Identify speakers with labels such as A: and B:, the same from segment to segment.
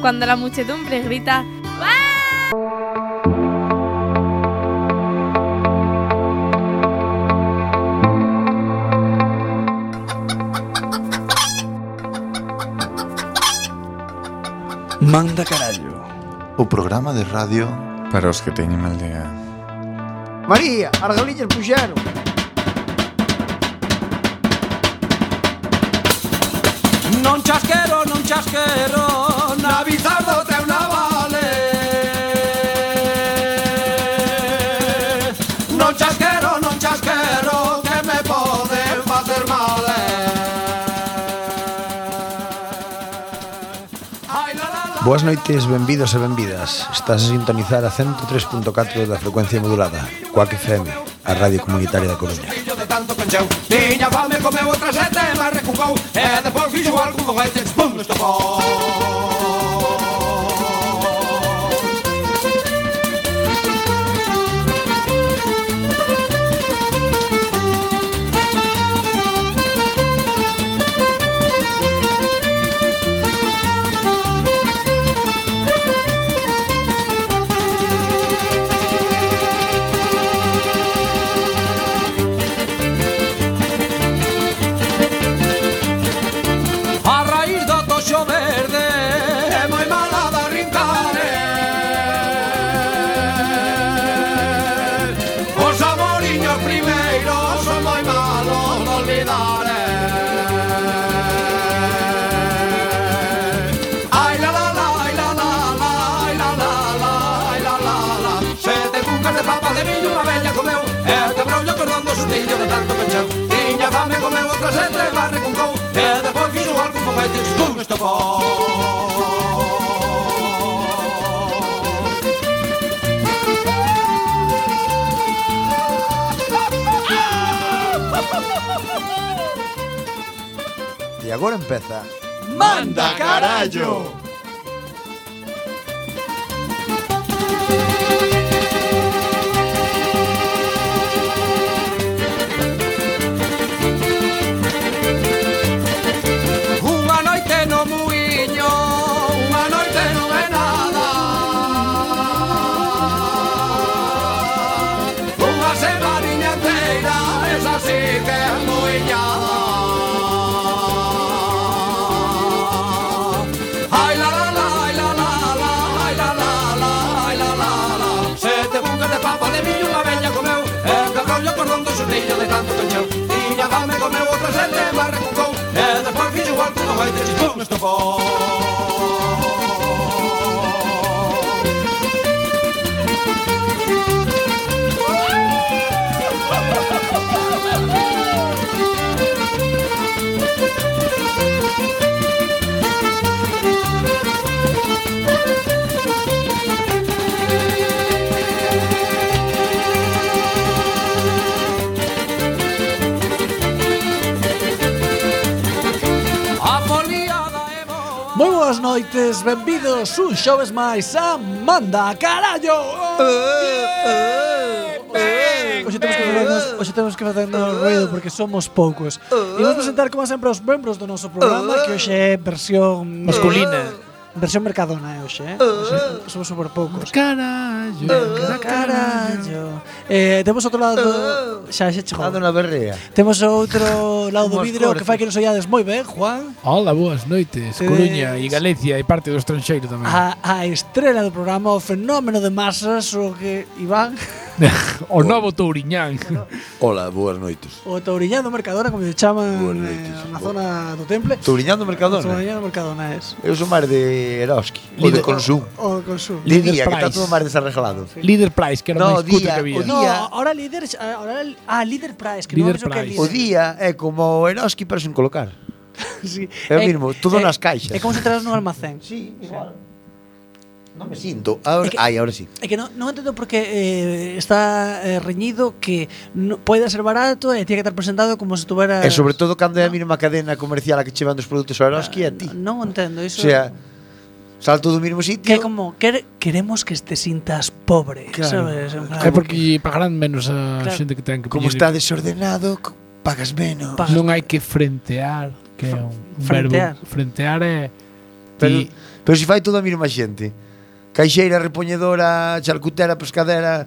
A: cuando la muchedumbre grita
B: Manda carallo.
C: O programa de radio
D: Para os que teñen aldea.
E: María, as galiñas puxeron.
F: Non chasquero, non chasquero Na bizardo trae unha vale Non chasquero, non chasquero Que me pode facer mal eh. Ai, la, la, la.
B: Boas noites, benvidos e benvidas. Estás a sintonizar a 103.4 da frecuencia modulada, Coac FM, a radio comunitaria da Coruña.
F: Fillo de tanto pencheu Tiña fame, comeu outra sete, mas recucou E depois fixo algún foguete Pum, nos topou A raíz do toxo verde É moi mala da rincare Os amoriños primeiros Son moi malos de olvidar eh. Ai la la la, ai la la la Ai la la la, ai la la la Sete cucas de papa de viño Unha bella comeu E te brollo perdón do sustillo de tanto pecheu Tiña fame comeu outra sete Barre con cou E depois fixo algún foguete Pum, estopou
B: E agora empeza
F: ¡Manda carallo! Unha noite no muiño, unha noite non é nada Unha semaninha inteira, esa sí que é muiñada Ai la la la, ai la la la, ai la la la, ai la la la Sete bucas de papa de millo unha bella comeu E de rollo cordón do xurtillo de tanto cancheu Tiña fame comeu outra sete mas recucou E despois fixo igual que non vai ter xipón estopou A foliada é boa
G: Moi boas noites, benvidos un xoves máis a Manda Carallo Hoxe temos que facernos, hoxe temos que facernos ruido porque somos poucos E vamos presentar como sempre os membros do noso programa Que hoxe é versión...
H: Masculina.
G: Versión Mercadona, eh, hoxe, eh? Hoxe somos super poucos
H: Carallo,
G: Carallo eh, Temos outro lado... Xa, xa chegou
E: Ando na berrea.
G: Temos outro lado do
E: Como os
G: vidro que
E: cortes.
G: fai que nos oiades moi ben, Juan
H: Hola, boas noites,
G: Tedes-
H: Coruña e Galicia e parte do estranxeiro tamén.
G: a, a estrela do programa, o fenómeno de masas, o que Iván,
H: o novo Touriñán.
C: Hola, boas noites
G: o Touriñán do Mercadona, como lle chaman
C: Boas noites,
G: eh, na
C: boa.
G: zona do Temple.
E: Touriñando Mercadona.
G: Touriñán do Mercadona es.
E: Eu sou máis de Eroski. O de
C: Líder-
E: Consum.
G: O do consumo.
E: De
H: Líder
E: día, que está
H: Price.
E: todo máis desarreglado.
H: Líder Price, que era
E: No,
H: o máis cutre
E: día, o
H: que había.
G: No,
E: día-
G: ahora líder, ahora ah, líder price, que
H: Líder
G: non penso que é líder.
H: Price.
E: O día é como o Eroski, pero sen colocar.
G: sí. Eh,
E: É o mismo, todo nas caixas.
G: É como se entras nun almacén.
E: Sí, igual. Non me sinto.
G: É
E: Ahora,
G: que-
E: ai, ahora sí.
G: É que non, non entendo por que eh, está eh, reñido que no, poida ser barato e tiene que estar presentado como se tuvera
E: E sobre todo cando é a mínima cadena comercial a que che dos produtos ao Eroski é a ti.
G: Non entendo
E: O
G: iso.
E: sea, salto do mismo sitio.
G: Que como quer- queremos que te sintas pobre,
E: Claro.
G: sabes? En plan,
H: É porque pagarán menos a
G: Claro.
H: xente que ten que
E: Como
H: poñerlle-
E: está desordenado, co- pagas menos.
G: pa-
H: Non hai que frentear, que é un, un verbo.
G: Frentear.
H: Frentear é
E: Pero-
H: ti
E: Pero se fai toda a mesma xente. Caixeira, repoñedora, charcutera, pescadera,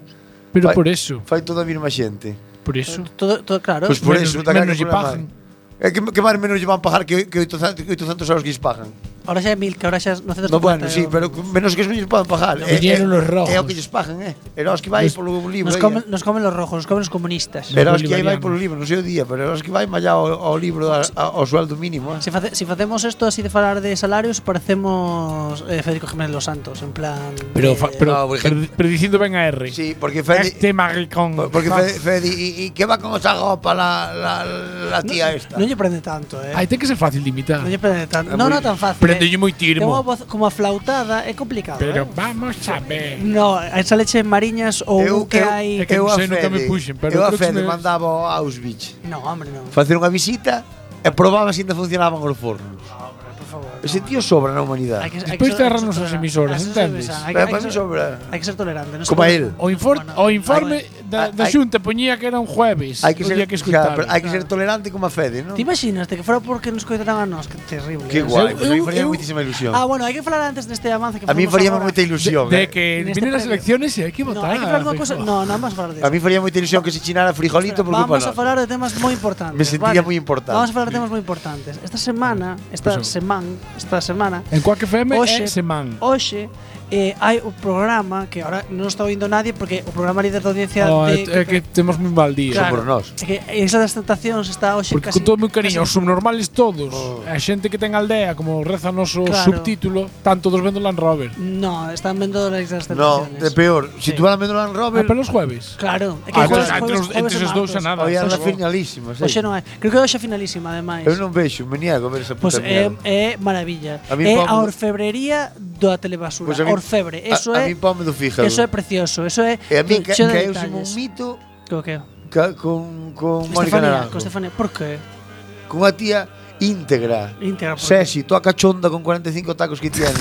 H: Pero
E: Fai-
H: por eso,
E: fai toda a mesma xente.
H: por eso.
G: Todo, todo claro.
E: Pois por
H: Ah, menos-
E: eso, taca
H: menos
E: que
H: lle
E: problema
H: pagan.
E: hai. É que, que máis menos lle van pagar que, que 800, que 800 euros que lles pagan.
G: ahora xa é mil, que ahora xa é 950
E: No, bueno, sí,
G: euros.
E: pero menos que eso non lles poden pagar. É-
H: viñeron
E: é-
H: los rojos.
E: É o que lles pagan, eh. Era os que vai
H: Nos-
E: polo libro.
G: Nos
E: aí,
G: comen,
E: eh.
G: nos comen los rojos, nos comen los comunistas.
H: Pero-
E: Era os que aí vai
H: bolivarianos.
E: polo libro, non sei o día, pero era os que vai mallado ao, ao libro, a- a- ao sueldo mínimo, eh.
G: Si, face- si facemos esto así de falar de salarios, parecemos eh, Federico Jiménez los Santos, en plan.
H: Pero,
G: eh,
H: fa- pero,
E: no, por
H: pero, pero diciendo ven a R.
E: Sí, porque Fede...
H: Este maricón.
E: Por- Porque Fede, Fede, ¿y, y qué va con esa ropa la, la, la tía esta? ah,
G: No lle prende tanto, eh.
H: Aí ten que ser fácil de imitar.
G: non lle prende tanto. No, no tan fácil.
H: Prende
G: eh.
H: moi
G: Ten unha
H: tirmo.
G: voz como aflautada, é complicado.
H: Pero
G: eh.
H: vamos a ver.
G: No, esa leche en mariñas ou
E: Eu-
G: eu, que
E: eu-
G: hai.
E: Eh.
H: é que non sei, nunca me puxen, pero
E: eu a
H: creo que
E: Fede
H: me-
E: mandaba ao Auschwitz
G: No, hombre, no.
E: facer unha visita e probaba se ainda funcionaban os fornos.
G: Por favor.
E: Ese tío sobra na humanidade.
H: Despois cerranos as emisoras, entendes?
G: Hay
E: Pero para mí
G: que,
E: sobra.
G: hay que ser tolerante. No
E: Como
G: se
E: a él.
G: puede-
H: O, infor
G: Bueno,
H: o informe da,
E: hai-
H: da
E: hai-
H: xunta poñía que era un jueves.
E: Hai que ser,
H: Había que
E: claro,
H: escutar.
E: pero hai que ser tolerante como a Fede, non?
G: ¿Te imaginas de que fuera porque nos coitaran a nos? Que terrible.
E: Que
G: eh.
E: guai,
H: Eu-
E: pues a mí
H: eu-
E: faría
H: eu-
E: moitísima ilusión.
G: Ah, bueno, hay que hablar antes de este avance que
E: A mí
G: facemos
E: faríame
G: agora.
E: moita ilusión.
H: De
E: eh.
H: que
G: En este
H: vienen las
G: premio.
H: elecciones y hay que
G: No,
H: votar.
G: hay que hablar de una cosa.
H: Feijóo.
G: No, nada más hablar de
E: A mí faría moita ilusión que se chinara frijolito por culpa
G: Vamos a
E: nosa.
G: hablar de temas muy importantes.
E: Me sentía
G: ¿vale?
E: muy importante.
G: Vamos a hablar de temas muy importantes. Esta semana, esta
H: Pues,
G: semana, esta semana,
H: En Quack FM
G: Oxe.
H: é semán.
G: hoxe eh, hai o programa que ahora non está oindo nadie porque o programa líder da audiencia
H: Oh,
G: de,
H: é que temos moi mal día.
E: Claro. Por nós.
G: É que a Isla das Tentacións está hoxe
H: Porque
G: casi,
H: con Pues todo meu cariño, os
G: casi-
H: subnormales todos, a xente que ten aldea, como reza o noso
G: Claro.
H: subtítulo, tanto dos vendo Land Rover.
G: No, están vendo a Isla das
E: No,
G: Tentacións
E: é peor.
G: Sí.
E: Si tú van a Mendolan
H: Ah,
E: Robert,
H: pero os jueves.
G: Claro, é que
H: Ah,
G: jueves-
H: entón, entre, os,
G: jueves-
H: entre
G: jueves
H: esos
G: e
H: dous a
G: martes.
H: nada.
E: hoy era
H: sabes?
E: finalísima, sí.
G: Hoxe non hai Creo que hoxe é finalísima, ademais
E: Eu non vexo, me niego a ver esa
G: Pois
E: puta
G: é,
E: mierda.
G: é eh, maravilla
E: A mí
G: É
E: ponme-
G: a orfebrería da telebasura
E: Pois Pues a mí-
G: Orfebre, eso é
E: a, a mí ponme do fíjalo.
G: Eso é precioso, eso é
E: E a mí ca,
G: cheo de
E: caeuse un
G: detalles.
E: mito
G: Co que?
E: ca, con, con Mónica
G: Estefanía,
E: Naranjo.
G: con Estefanía, por que?
E: Con unha tía íntegra.
G: Íntegra, por que?
E: Sesi, toda cachonda con 45 tacos que tiene.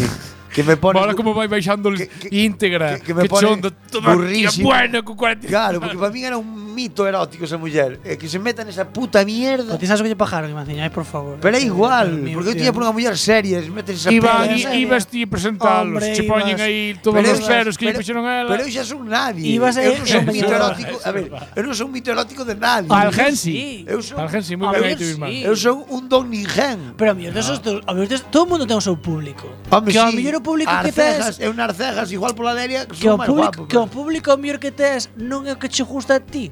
E: que me pone...
H: Mola como vai baixando
E: que-
H: que,
E: que-
H: íntegra.
E: que- que me
H: Que,
E: pone
H: chondo, toda tía
E: burrísimo.
H: buena con 40.
E: Claro, porque para mí era un mito erótico esa muller. Eh, que se meta nesa puta mierda.
G: O ti sabes que lle pajaron, imagiña, ai, eh, por favor eh,
E: Pero é igual,
G: Pues, Dios mío,
E: porque eu
G: tío.
E: tiña por unha muller seria, se mete nesa
H: Iba,
E: pera-
G: i-
H: i- ibas ti a presentalos,
G: Hombre,
H: che poñen
G: ibas.
H: aí todos
E: Pero
H: os
E: ibas-
H: ceros que lle
E: pero-
H: puxeron a ela.
E: Pero eu xa son nadie.
G: Ibas a-
E: eu non son un
G: é
E: mito
G: verdade,
E: erótico, a ver, eu non son un mito erótico de nadie.
H: Algensi.
E: Eu son,
G: A
H: Algensi, moi ben
G: ver,
H: aí tu irmán.
G: sí.
E: eu son un don ninguén.
G: Pero a mellor desos, a mellor desos, todo o mundo ten o seu público.
E: Home,
G: que ao
E: sí,
G: mellor o público que
E: arcejas,
G: tes
E: É un arcejas igual pola Delia que,
G: que o
E: son máis
G: público,
E: guapo.
G: que o
E: pero-
G: público ao mellor que tes non é o que che gusta a ti.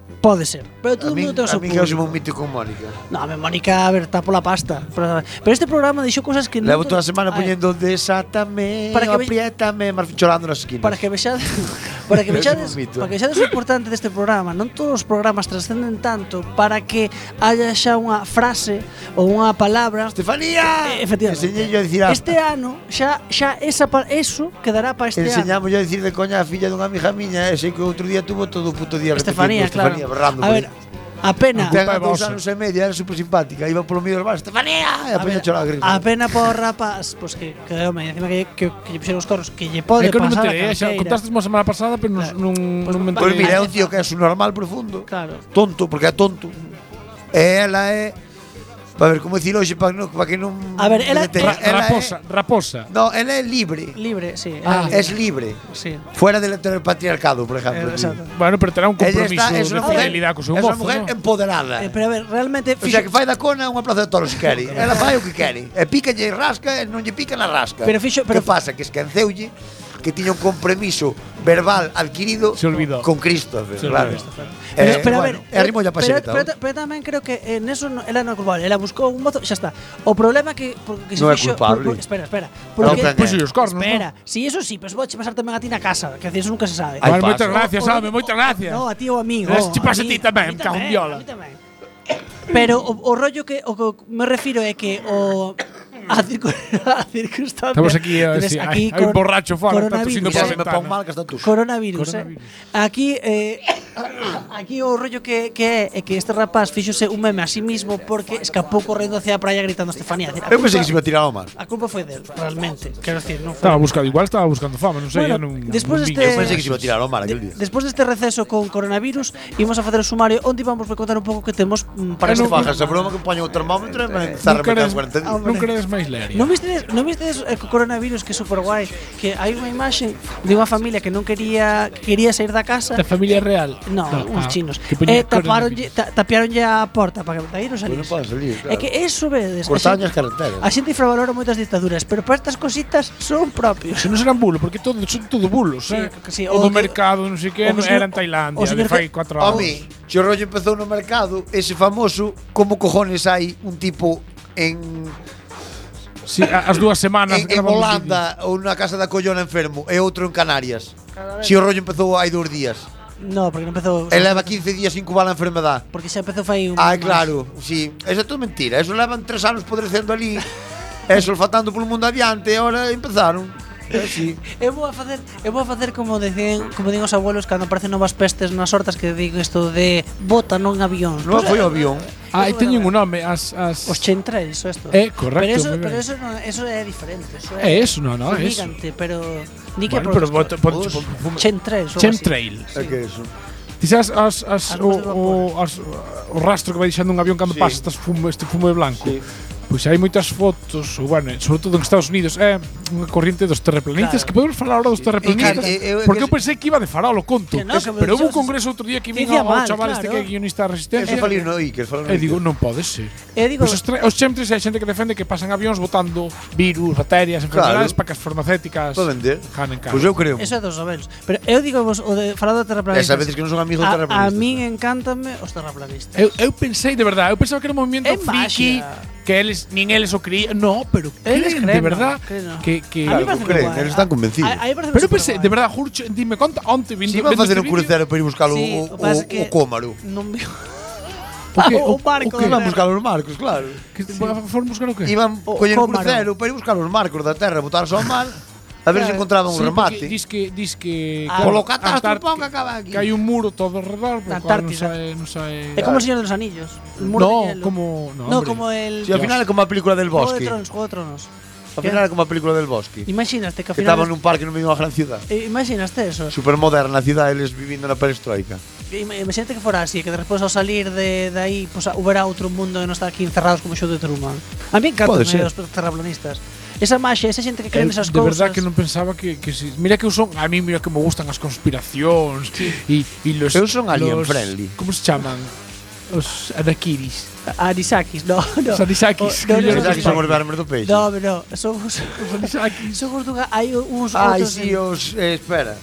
G: Pode ser, pero todo o
E: a mí,
G: mundo ten o
E: a
G: seu
E: mí que eu son un
G: público.
E: mito con Mónica.
G: No, a ver, Mónica, a ver, está pola pasta. Pero, pero este programa deixou cosas que
E: Levo
G: non-
E: toda a semana
G: Ay,
E: poñendo desátame,
G: Para
E: para
G: que
E: que
G: ve-
E: apriétame, mar- chorando nas esquinas.
G: Para que vexades, para que
E: Pero eso é
G: vexades,
E: un mito.
G: para que vexades o importante deste programa, non todos os programas trascenden tanto para que haya xa unha frase ou unha palabra
E: Estefanía,
G: Eh, Efectivamente.
E: enseñei yo a dicir a,
G: Este ano xa xa esa pa- eso quedará para este ano.
E: enseñamos yo a dicir de coña a filla dunha amiga miña, e sei que outro día tuvo todo o puto día
G: Estefanía,
E: repetindo,
G: claro.
E: Estefanía berrando.
G: a ver, apena
E: Tenga
H: Culpa é
E: dous
H: vosa.
E: anos e medio, era super simpática, iba polo medio dos bares, Estefanía, e
G: a
E: a peña
G: ver,
E: choraba. gris.
G: apena por rapaz, pois que que home, encima que que, que lle puxeron os toros que lle
H: É
G: pode
H: que non me
G: pasar. a
H: enterei, xa
G: canteira.
H: contaste a semana pasada, pero non
G: Claro. Pues
H: non
G: Pois
H: non me
E: Pois Pues mira, é
H: enterei.
E: un tío que é subnormal profundo,
G: Claro.
E: tonto, porque é tonto. E ela é A ver, como dicir hoxe para no, pa que non...
G: A ver, ela-
E: Ela
H: Ra- Raposa,
E: é,
H: raposa.
E: no, ela é libre.
G: Libre, sí.
H: Ah,
G: libre,
E: Es libre.
G: sí.
E: Fuera del patriarcado, por
G: Eh,
E: ejemplo. sí.
G: Exacto.
H: Bueno, pero terá un
E: Ella
H: compromiso
E: está, es
H: de
E: una mujer,
H: fidelidade co seu
E: es una
H: mozo,
E: mujer
H: non?
E: empoderada.
G: Eh, pero a ver, realmente
E: o sea, que fai da cona unha plaza de toros que quere. Ela fai o que quere. E pica e rasca e non lle pica na rasca.
G: Pero fixo- pero-
E: que pasa? Que esquenceulle que tiña un compromiso verbal adquirido
H: Se olvidou.
E: con Christopher,
H: Se
E: claro.
H: olvidou.
G: Pero, pero a ver, eh,
E: Eh, e arrimolle a
G: pero,
E: paxereta.
G: pero,
E: Pero,
G: pero, tamén creo que en eso no, ela non é culpable, ela buscou un mozo, xa está. O problema que porque se
E: Non é
G: fixo,
E: culpable.
G: por- por- espera, espera,
E: Non,
G: porque
E: Fran,
H: Pois os cornos. non?
G: Espera, si eso sí, pues voche pasar tamén a ti na casa, que eso nunca se sabe.
E: Ai,
H: Bueno, moitas
E: pasa.
H: gracias,
G: O- o-
H: home, moitas gracias.
G: No, a ti ou a min. oh,
H: Las chipas a
G: mí-
H: ti
G: mí
H: tamén, cago en
G: tamén,
H: viola.
G: a mí tamén. Pero o, o rollo que o que me refiro é que o a, circu a circunstancia
H: Estamos aquí, a ver
G: Tienes
H: si- ay, hay un borracho fuera, está
G: coronavirus,
E: Mira,
H: tosiendo por la
E: se me
H: ventana.
E: pon mal que está tú.
G: coronavirus,
H: Coronavirus.
G: Eh. Aquí eh, aquí o rollo que, que é é que este rapaz fíxose un meme a sí mismo porque escapou correndo hacia a praia gritando Estefanía.
E: Eu pensei que se me tiraba máis.
G: A culpa foi del, realmente. Quero decir, non foi.
H: Estaba buscando, igual estaba buscando fama, non sei,
G: Bueno,
H: eu non.
G: despois
H: non
G: este-
H: vin
E: Eu
H: eso.
E: pensei que se me tiraba máis aquel día.
G: Despois deste receso con coronavirus, imos a facer o sumario onde vamos a contar un pouco que temos mm, para
E: Para
G: este
E: non fajas a broma que poño o termómetro e me
H: Non
E: zarra me
H: queres,
E: cago en
H: non queres máis hilaria.
G: Non vistedes, non vistedes eh, co coronavirus que é super guai Que hai unha imaxe de unha familia que non quería que quería sair da casa
H: Da familia real.
G: No,
H: Da-
G: uns
H: ah,
G: chinos
H: que poñen
G: eh, taparonlle,
H: coronavirus.
G: ta, tapiaronlle a porta para que aí non salís
E: Pois non poden salir, claro.
G: É que eso vedes a
E: Cortaron as
G: xente-
E: carreteras.
G: A xente infravalora moitas dictaduras Pero para estas cositas son propios
H: Se non serán bulos, porque todos son todo bulos,
G: Sí,
H: eh?
G: que sí,
H: o,
G: o
H: do
G: que-
H: mercado, non sei que,
G: o que
H: non
G: señor-
H: era en Tailandia,
G: o señor
H: de
G: que-
H: fai 4 anos.
E: Home, o rollo empezou no mercado, ese famoso, como cojones hai un tipo en
H: Sí, a- as dúas semanas
E: en, en
H: gravamos
E: Holanda ou na casa da collona enfermo e outro en Canarias. Si o rollo empezou hai dous días.
G: No, porque non empezou
E: E leva 15 días sin cubar a enfermedad.
G: Porque xa empezou fai un
E: Ah,
G: mes.
E: claro, sí. Eso é todo mentira. Eso levan tres anos podrecendo ali e solfatando polo mundo adiante e ahora empezaron. Eh, sí.
G: Eu vou a facer, eu vou a facer como dicen, como din os abuelos cando aparecen novas pestes nas hortas que digo isto de bota non avións.
E: Non
G: Pois,
E: foi o avión.
H: Ah, e teñen un nome, as... as...
G: Os chemtrails, isto.
H: Eh, correcto,
G: Pero eso,
H: muy bien.
G: pero eso, non, eso é diferente. Eso
H: É eso, no, no, é eso.
G: Gigante, pero ni que e
H: Bueno, pero bota, e- ponte,
E: Os-
G: Chemtrails. ou
H: Chemtrail.
E: É que eso.
H: Ti sabes as, as,
G: As
H: o,
G: bombas de vapor.
H: o, as, o rastro que vai deixando un avión cando
E: Sí.
H: pasa estas fumo, este fumo de blanco? Pois hai moitas fotos, ou bueno, sobre todo en Estados Unidos, é unha corriente dos terraplanistas,
G: Claro.
H: que podemos falar ahora dos terraplanistas,
E: E que- e- e-
H: porque
E: que-
H: eu pensei que iba de farol o conto,
G: Que no, que me
H: pero houve
G: dixeron-
H: un congreso outro día que vin
G: Dicía
H: ao ao
G: mal,
H: chaval este
G: claro.
H: que é guionista
E: Eso
H: da Resistencia,
E: falou no Iker, falou no
H: e eh, digo,
E: Iker.
H: non pode ser.
G: Chemtrails. E Eu digo,
H: Pois os, tre- os chemtrails hai xente que defende que pasan avións botando virus, bacterias, enfermedades para que as farmacéuticas
E: Para vender.
H: ganen caro.
E: Pois eu creo.
G: eso é dos abuelos. Pero eu digo vos o de falado de terraplanistas.
E: Esa veces que non son amigos
G: a, A
E: terraplanistas.
G: min encántame os terraplanistas.
H: Eu, eu pensei de verdade, eu pensaba que era un movimiento
G: É
H: friki
G: magia.
H: que eles nin eles o creían. No, pero
G: Eles
H: creen, de
G: creen,
H: verdad
G: no, creen, no.
H: que que
G: a mí
E: Claro,
G: me
E: creen, eles están convencidos.
H: Pero eu pensei, de verdade, Jurcho, dime conta onte vindo
E: Si iban a
H: vendo
E: facer
H: este
E: un
H: vídeo,
E: crucero para ir buscar o,
G: Sí,
E: o,
G: o pasa que-
E: o, o cómaro.
G: Non veo.
H: O qué?
G: O
H: O-
G: barco.
H: o qué?
G: da
E: Iban
G: terra.
E: buscar os marcos, claro.
H: que foron buscar o qué?
E: Iban
G: O
E: coller un
G: cómaro.
E: crucero para ir buscar os marcos da terra, botarse ao mar, a ver se
G: Claro.
E: encontraban un
H: Sí, porque
E: remate.
H: Dis que dis que
G: Ah,
E: Polo
H: Antar-
E: catástrofe que acaba aquí.
H: que hai un muro todo ao redor,
G: Na
H: por cual non
G: Antártida.
H: sae, non sae.
G: É como o Señor dos Anillos. El muro de
H: No,
G: hielo.
H: como no,
G: No,
H: hombre.
G: como el.
E: Si, ao final é como a película del
G: Juego de
E: bosque.
G: Tronos, Juego de Tronos.
E: Ao final é como a película del bosque. Que
G: Imagínate que al final.
E: estaban nun parque no medio da gran ciudad.
G: eh, Imaginaste eso.
E: Supermoderna a cidade, eles vivindo na perestroika.
G: Ima- Imagínate que fuera así, que después ao salir de, de aí pues, hubiera outro mundo e non estar aquí encerrados como o show de Truman. A mí encantan
E: Pode ser.
G: os terraplanistas. Esa magia, esa xente que cree
H: Eu,
G: nesas
H: Eh, de
G: cousas.
H: verdad que non pensaba que, que si, mira que eu son a mí mira que me gustan as conspiracións e e los
E: Eu son alien
H: los-
E: friendly.
H: Como se chaman? Os anakiris.
G: Anisakis, no, no.
H: Os
G: O-
H: anisakis, que
G: No, no,
E: Pero
H: Pero
E: xa
H: sabes
E: que
H: que
E: son
H: son
E: os vermes do peixe.
G: no, no, no, son os Son os dunha, hai uns
E: Ai,
G: outros
E: Ah, si,
G: en-
E: os... Eh, espera.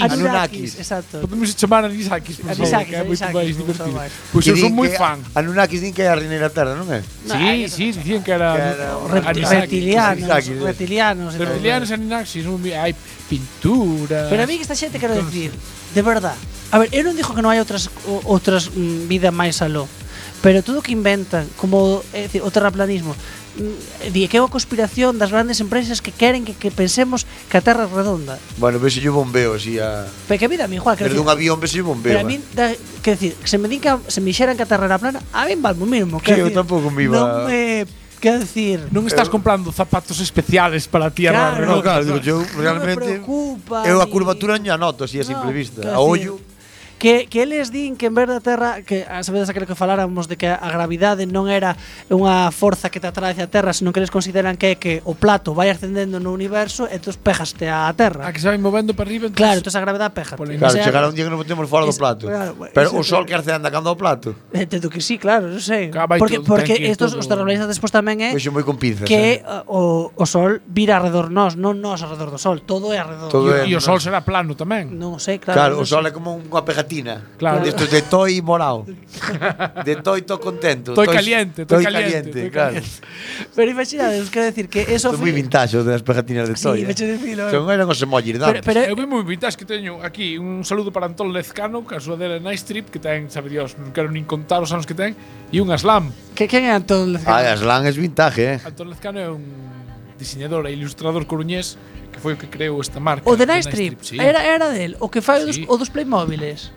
G: Anunnakis,
E: Anunnakis.
G: exacto.
H: Podemos chamar anisakis, por favor,
G: Anisakis,
H: que é moito
G: anisakis,
H: máis
G: me gusta
H: divertido.
G: máis.
H: Pois
E: Que
H: eu son
E: din
H: moi
E: que
H: fan.
E: Anunnakis din que é a reineira terra, non é?
H: Sí, sí, dicían que era,
E: Que era un
G: Repti-
H: anisakis.
G: reptilianos,
E: Anisakis, eh.
G: reptilianos, e tal.
H: Reptilianos, anisakis, non vi- hai pinturas.
G: Pero a mí que esta xente quero dicir, de verdad. A ver, eu non dijo que non hai outras o- outras mm, vida máis aló. Pero todo o que inventan, como é dicir, o terraplanismo, mm, di que é unha conspiración das grandes empresas que queren que, que pensemos que a Terra é redonda.
E: Bueno, vexo yo bombeo, así a...
G: Pero que a vida a mí, Juan, quero
E: Desde
G: dicir,
E: un avión vexo yo bombeo.
G: Pero a min, da, que decir, se me din que a- se me dixeran que a Terra era plana, a min valmo mismo.
E: Que
G: quero
E: eu
G: dicir,
E: tampouco me iba-
G: Non me... Quero dicir...
H: non estás comprando zapatos especiales para a Tierra
G: Claro.
E: Eh. No,
H: redonda.
E: claro, digo, yo
G: me
E: realmente...
G: preocupa
E: Eu a
G: ni-
E: curvatura non a noto, así a
G: No,
E: simple vista.
G: quero
E: A
G: decir,
E: ollo...
G: Ah, Que, que eles din que en vez da Terra que a sabedes aquilo que faláramos de que a gravidade non era unha forza que te atrae hacia a Terra senón que eles consideran que é que o plato vai ascendendo no universo e tú pejaste á
H: A
G: Terra
H: Ah, que se vai movendo para arriba. entonces-
G: claro, entón a gravidade pejate
H: Pola
G: O
E: Claro,
G: sea,
E: chegará un día que nos metemos fora do
G: es-
E: plato.
G: claro, bueno,
E: Pero
G: eso
E: o sol
G: é-
E: que arce anda cando ao plato.
G: entendo Eh, que sí, claro, non sei
H: Cá vai
G: porque,
H: todo,
G: porque
H: tranquilo,
G: estos,
H: todo.
G: os terraplanistas despois tamén é
E: Vexo moi con pinzas.
G: que
E: eh.
G: uh, o, o sol vira alrededor nós, non nós alrededor do sol, todo é alrededor.
E: Todo
H: E, e o
E: no-
H: sol será plano tamén.
G: Non sei, claro.
E: Claro,
G: non
E: o sol é como unha pegatina.
H: Claro.
E: Isto de toi morao. De toi to contento.
H: Toi caliente, toi caliente, toi
E: claro.
H: caliente.
G: sei. Pero imaginades, quero decir que eso
E: Isto é moi vintage o das pegatinas de toi.
G: Sí, veche dicilo. eh.
E: Son eran os emojis,
G: Pero,
E: dame.
G: pero
H: Eu vi moi vintage que teño aquí un saludo para Antón Lezcano, que a súa dela Night Strip, que ten, sabe Dios, non quero nin contar os anos que ten, e un Aslam.
G: que quen é Antón Lezcano?
E: Ah, Aslan é vintage, eh.
H: Antón Lezcano é un diseñador e ilustrador coruñés que foi o que creou esta marca.
G: O de Night Strip,
H: sí.
G: era era del, o que fai o dos,
H: Sí.
G: o dos Playmóviles.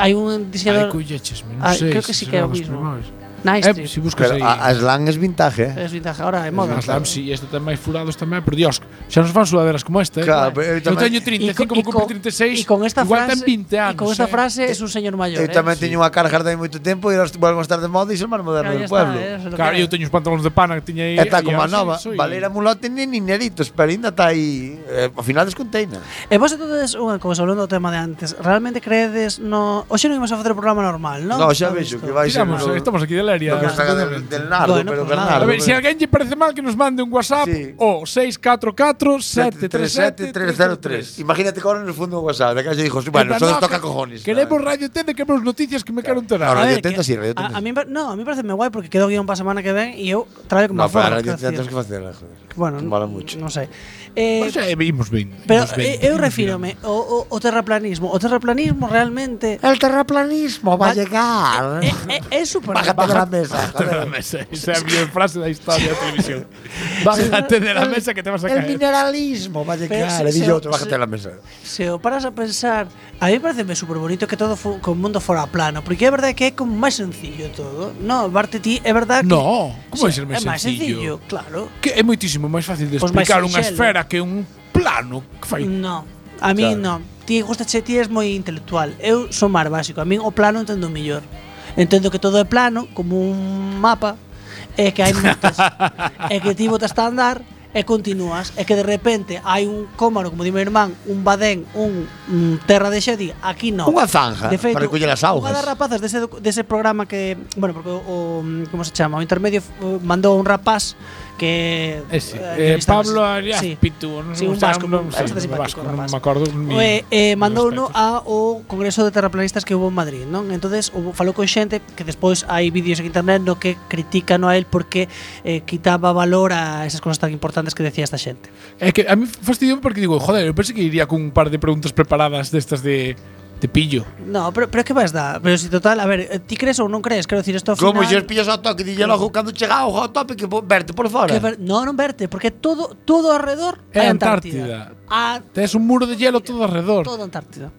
G: Hai un
H: Ai,
G: diseñador
H: colleches, non
G: Ai,
H: sei.
G: creo que
H: se
G: sí que é o
H: serán os
G: mismo.
H: primeiros.
G: Nice
H: Eh,
G: Trip.
H: se buscas
E: Pero
H: aí.
E: a, a slang es vintage, eh?
G: Es vintage, ahora é moda.
H: Mas claro. si, este ten máis furados tamén, por dios, xa nos fan sudaderas como esta, eh?
E: Claro, pero eu
H: eu
E: tamén-
H: teño 35, como cumplir
G: y
H: 36,
G: con esta
H: igual
G: frase,
H: ten 20
G: y
H: anos.
G: con esta
H: eh.
G: frase es un señor mayor. eh.
E: Eu tamén teño unha carga de moito tempo e elas volven a estar de moda e son máis
G: Claro,
E: moderno
G: ya
E: do
G: está,
E: pueblo.
G: eh, eso es lo
H: Claro,
G: que
H: eu
G: era.
H: teño os pantalóns de pana que tiña aí.
E: E está
H: e
E: como a
H: ahora sí,
E: nova.
H: soy-
E: Valera Mulote nin Nineritos, pero ainda está aí. Eh, ao final desconteina.
G: E vos entonces, unha cousa, hablando do tema de antes, realmente credes no... Hoxe non imos a facer o programa normal, non?
E: No, xa
G: Está
E: vexo
G: visto.
E: que vai ser
H: Tiramos, eh,
E: no,
H: estamos aquí de Leria.
E: no que saca del, del nardo,
G: Bueno,
E: pero
G: pues nada.
E: Bernardo.
H: A ver, si alguén lle parece mal que nos mande un WhatsApp
E: Sí.
H: o 644-737-303.
E: 737-303. Imagínate que ahora en el fondo de WhatsApp. De casa dijo, sí, bueno,
H: Eh,
E: eso
H: no,
E: nos toca
H: que-
E: cojones.
H: Queremos Radio Tende, queremos noticias que me quero enterar.
E: Ahora,
G: A
E: Radio
G: ver,
E: Tenda
G: que-
E: sí, Radio
G: a,
E: Tenda
G: a
E: sí.
G: mí, pa- no, a mí parece me guai porque quedo guión para a semana que ven e eu traio como
E: No, pero
G: aforro,
E: a Radio
G: quero
E: Tenda tens
G: decir.
E: que facela, joder.
G: Bueno,
E: mola mucho.
G: non sei. Eh,
H: Pois é, vimos ben.
G: Pero
H: vimos ben,
G: eh, eu
H: vimos
G: refírome o, o, o terraplanismo. O terraplanismo realmente
H: Ah,
E: El terraplanismo va a
G: Va-
E: llegar.
H: Eh,
G: é, é, é super
E: Bájate de la mesa.
H: ben. De la mesa. Esa é a miña frase da historia da televisión. Bájate de la mesa que te vas a
E: El
H: caer.
E: mineralismo va a
G: se-
E: llegar. Le
G: se-
E: dije otro,
G: se-
E: bájate de la mesa.
G: Se o paras a pensar, a mí pareceme super bonito que todo fo, que o mundo fora plano, porque é verdade que é como máis sencillo todo. No, parte ti, é verdade que
H: No, como é ser
G: é
H: máis
G: máis sencillo,
H: sencillo?
G: claro.
H: Que é moitísimo máis fácil de
G: Pois máis Mm.
H: explicar unha
G: sinxelo.
H: esfera que un plano que fai
G: No, a mí
E: Claro.
G: non. Ti gusta che, ti és moi intelectual. Eu son máis básico. A mí o plano entendo mellor. Entendo que todo é plano, como un mapa, e que hai notas. e que ti botas a andar e continúas. E que de repente hai un cómaro, como di meu irmán, un badén, un mm, terra de xedi, aquí non.
E: Unha zanja para recoller as augas.
G: Unha das rapazas dese, docu- dese programa que, bueno, porque o, o mm, como se chama, o intermedio f- mandou un rapaz que
H: Ese,
G: eh,
H: eh, Pablo Arias
G: Sí.
H: Pitu, non
G: Sí, un
H: sei,
G: vasco, un
H: non sei,
G: bastante
H: un vasco,
G: simpático,
H: non
G: rapaz.
H: me acordo. mi-
G: Eh, eh, mandou uno
H: respeto.
G: ao Congreso de Terraplanistas que hubo en Madrid, non? Entonces, hubo, falou con xente que despois hai vídeos en internet no que critican a él porque eh, quitaba valor a esas cosas tan importantes que decía esta xente.
H: É que a mí fastidiou porque digo, joder, eu pensei que iría con un par de preguntas preparadas destas de, de pillo.
G: No, pero, pero que vais dar? Pero si total, a ver, eh, ti crees ou non crees? Quero decir, isto ao
E: Como
G: final...
E: xos pillas ao toque, dille logo cando chega ao hot topic que verte por fora.
G: Que ver- no, non verte, porque todo todo alrededor
H: É
G: é
H: Antártida.
G: Antártida. A
H: Tes un muro de hielo todo alrededor.
G: todo Antártida.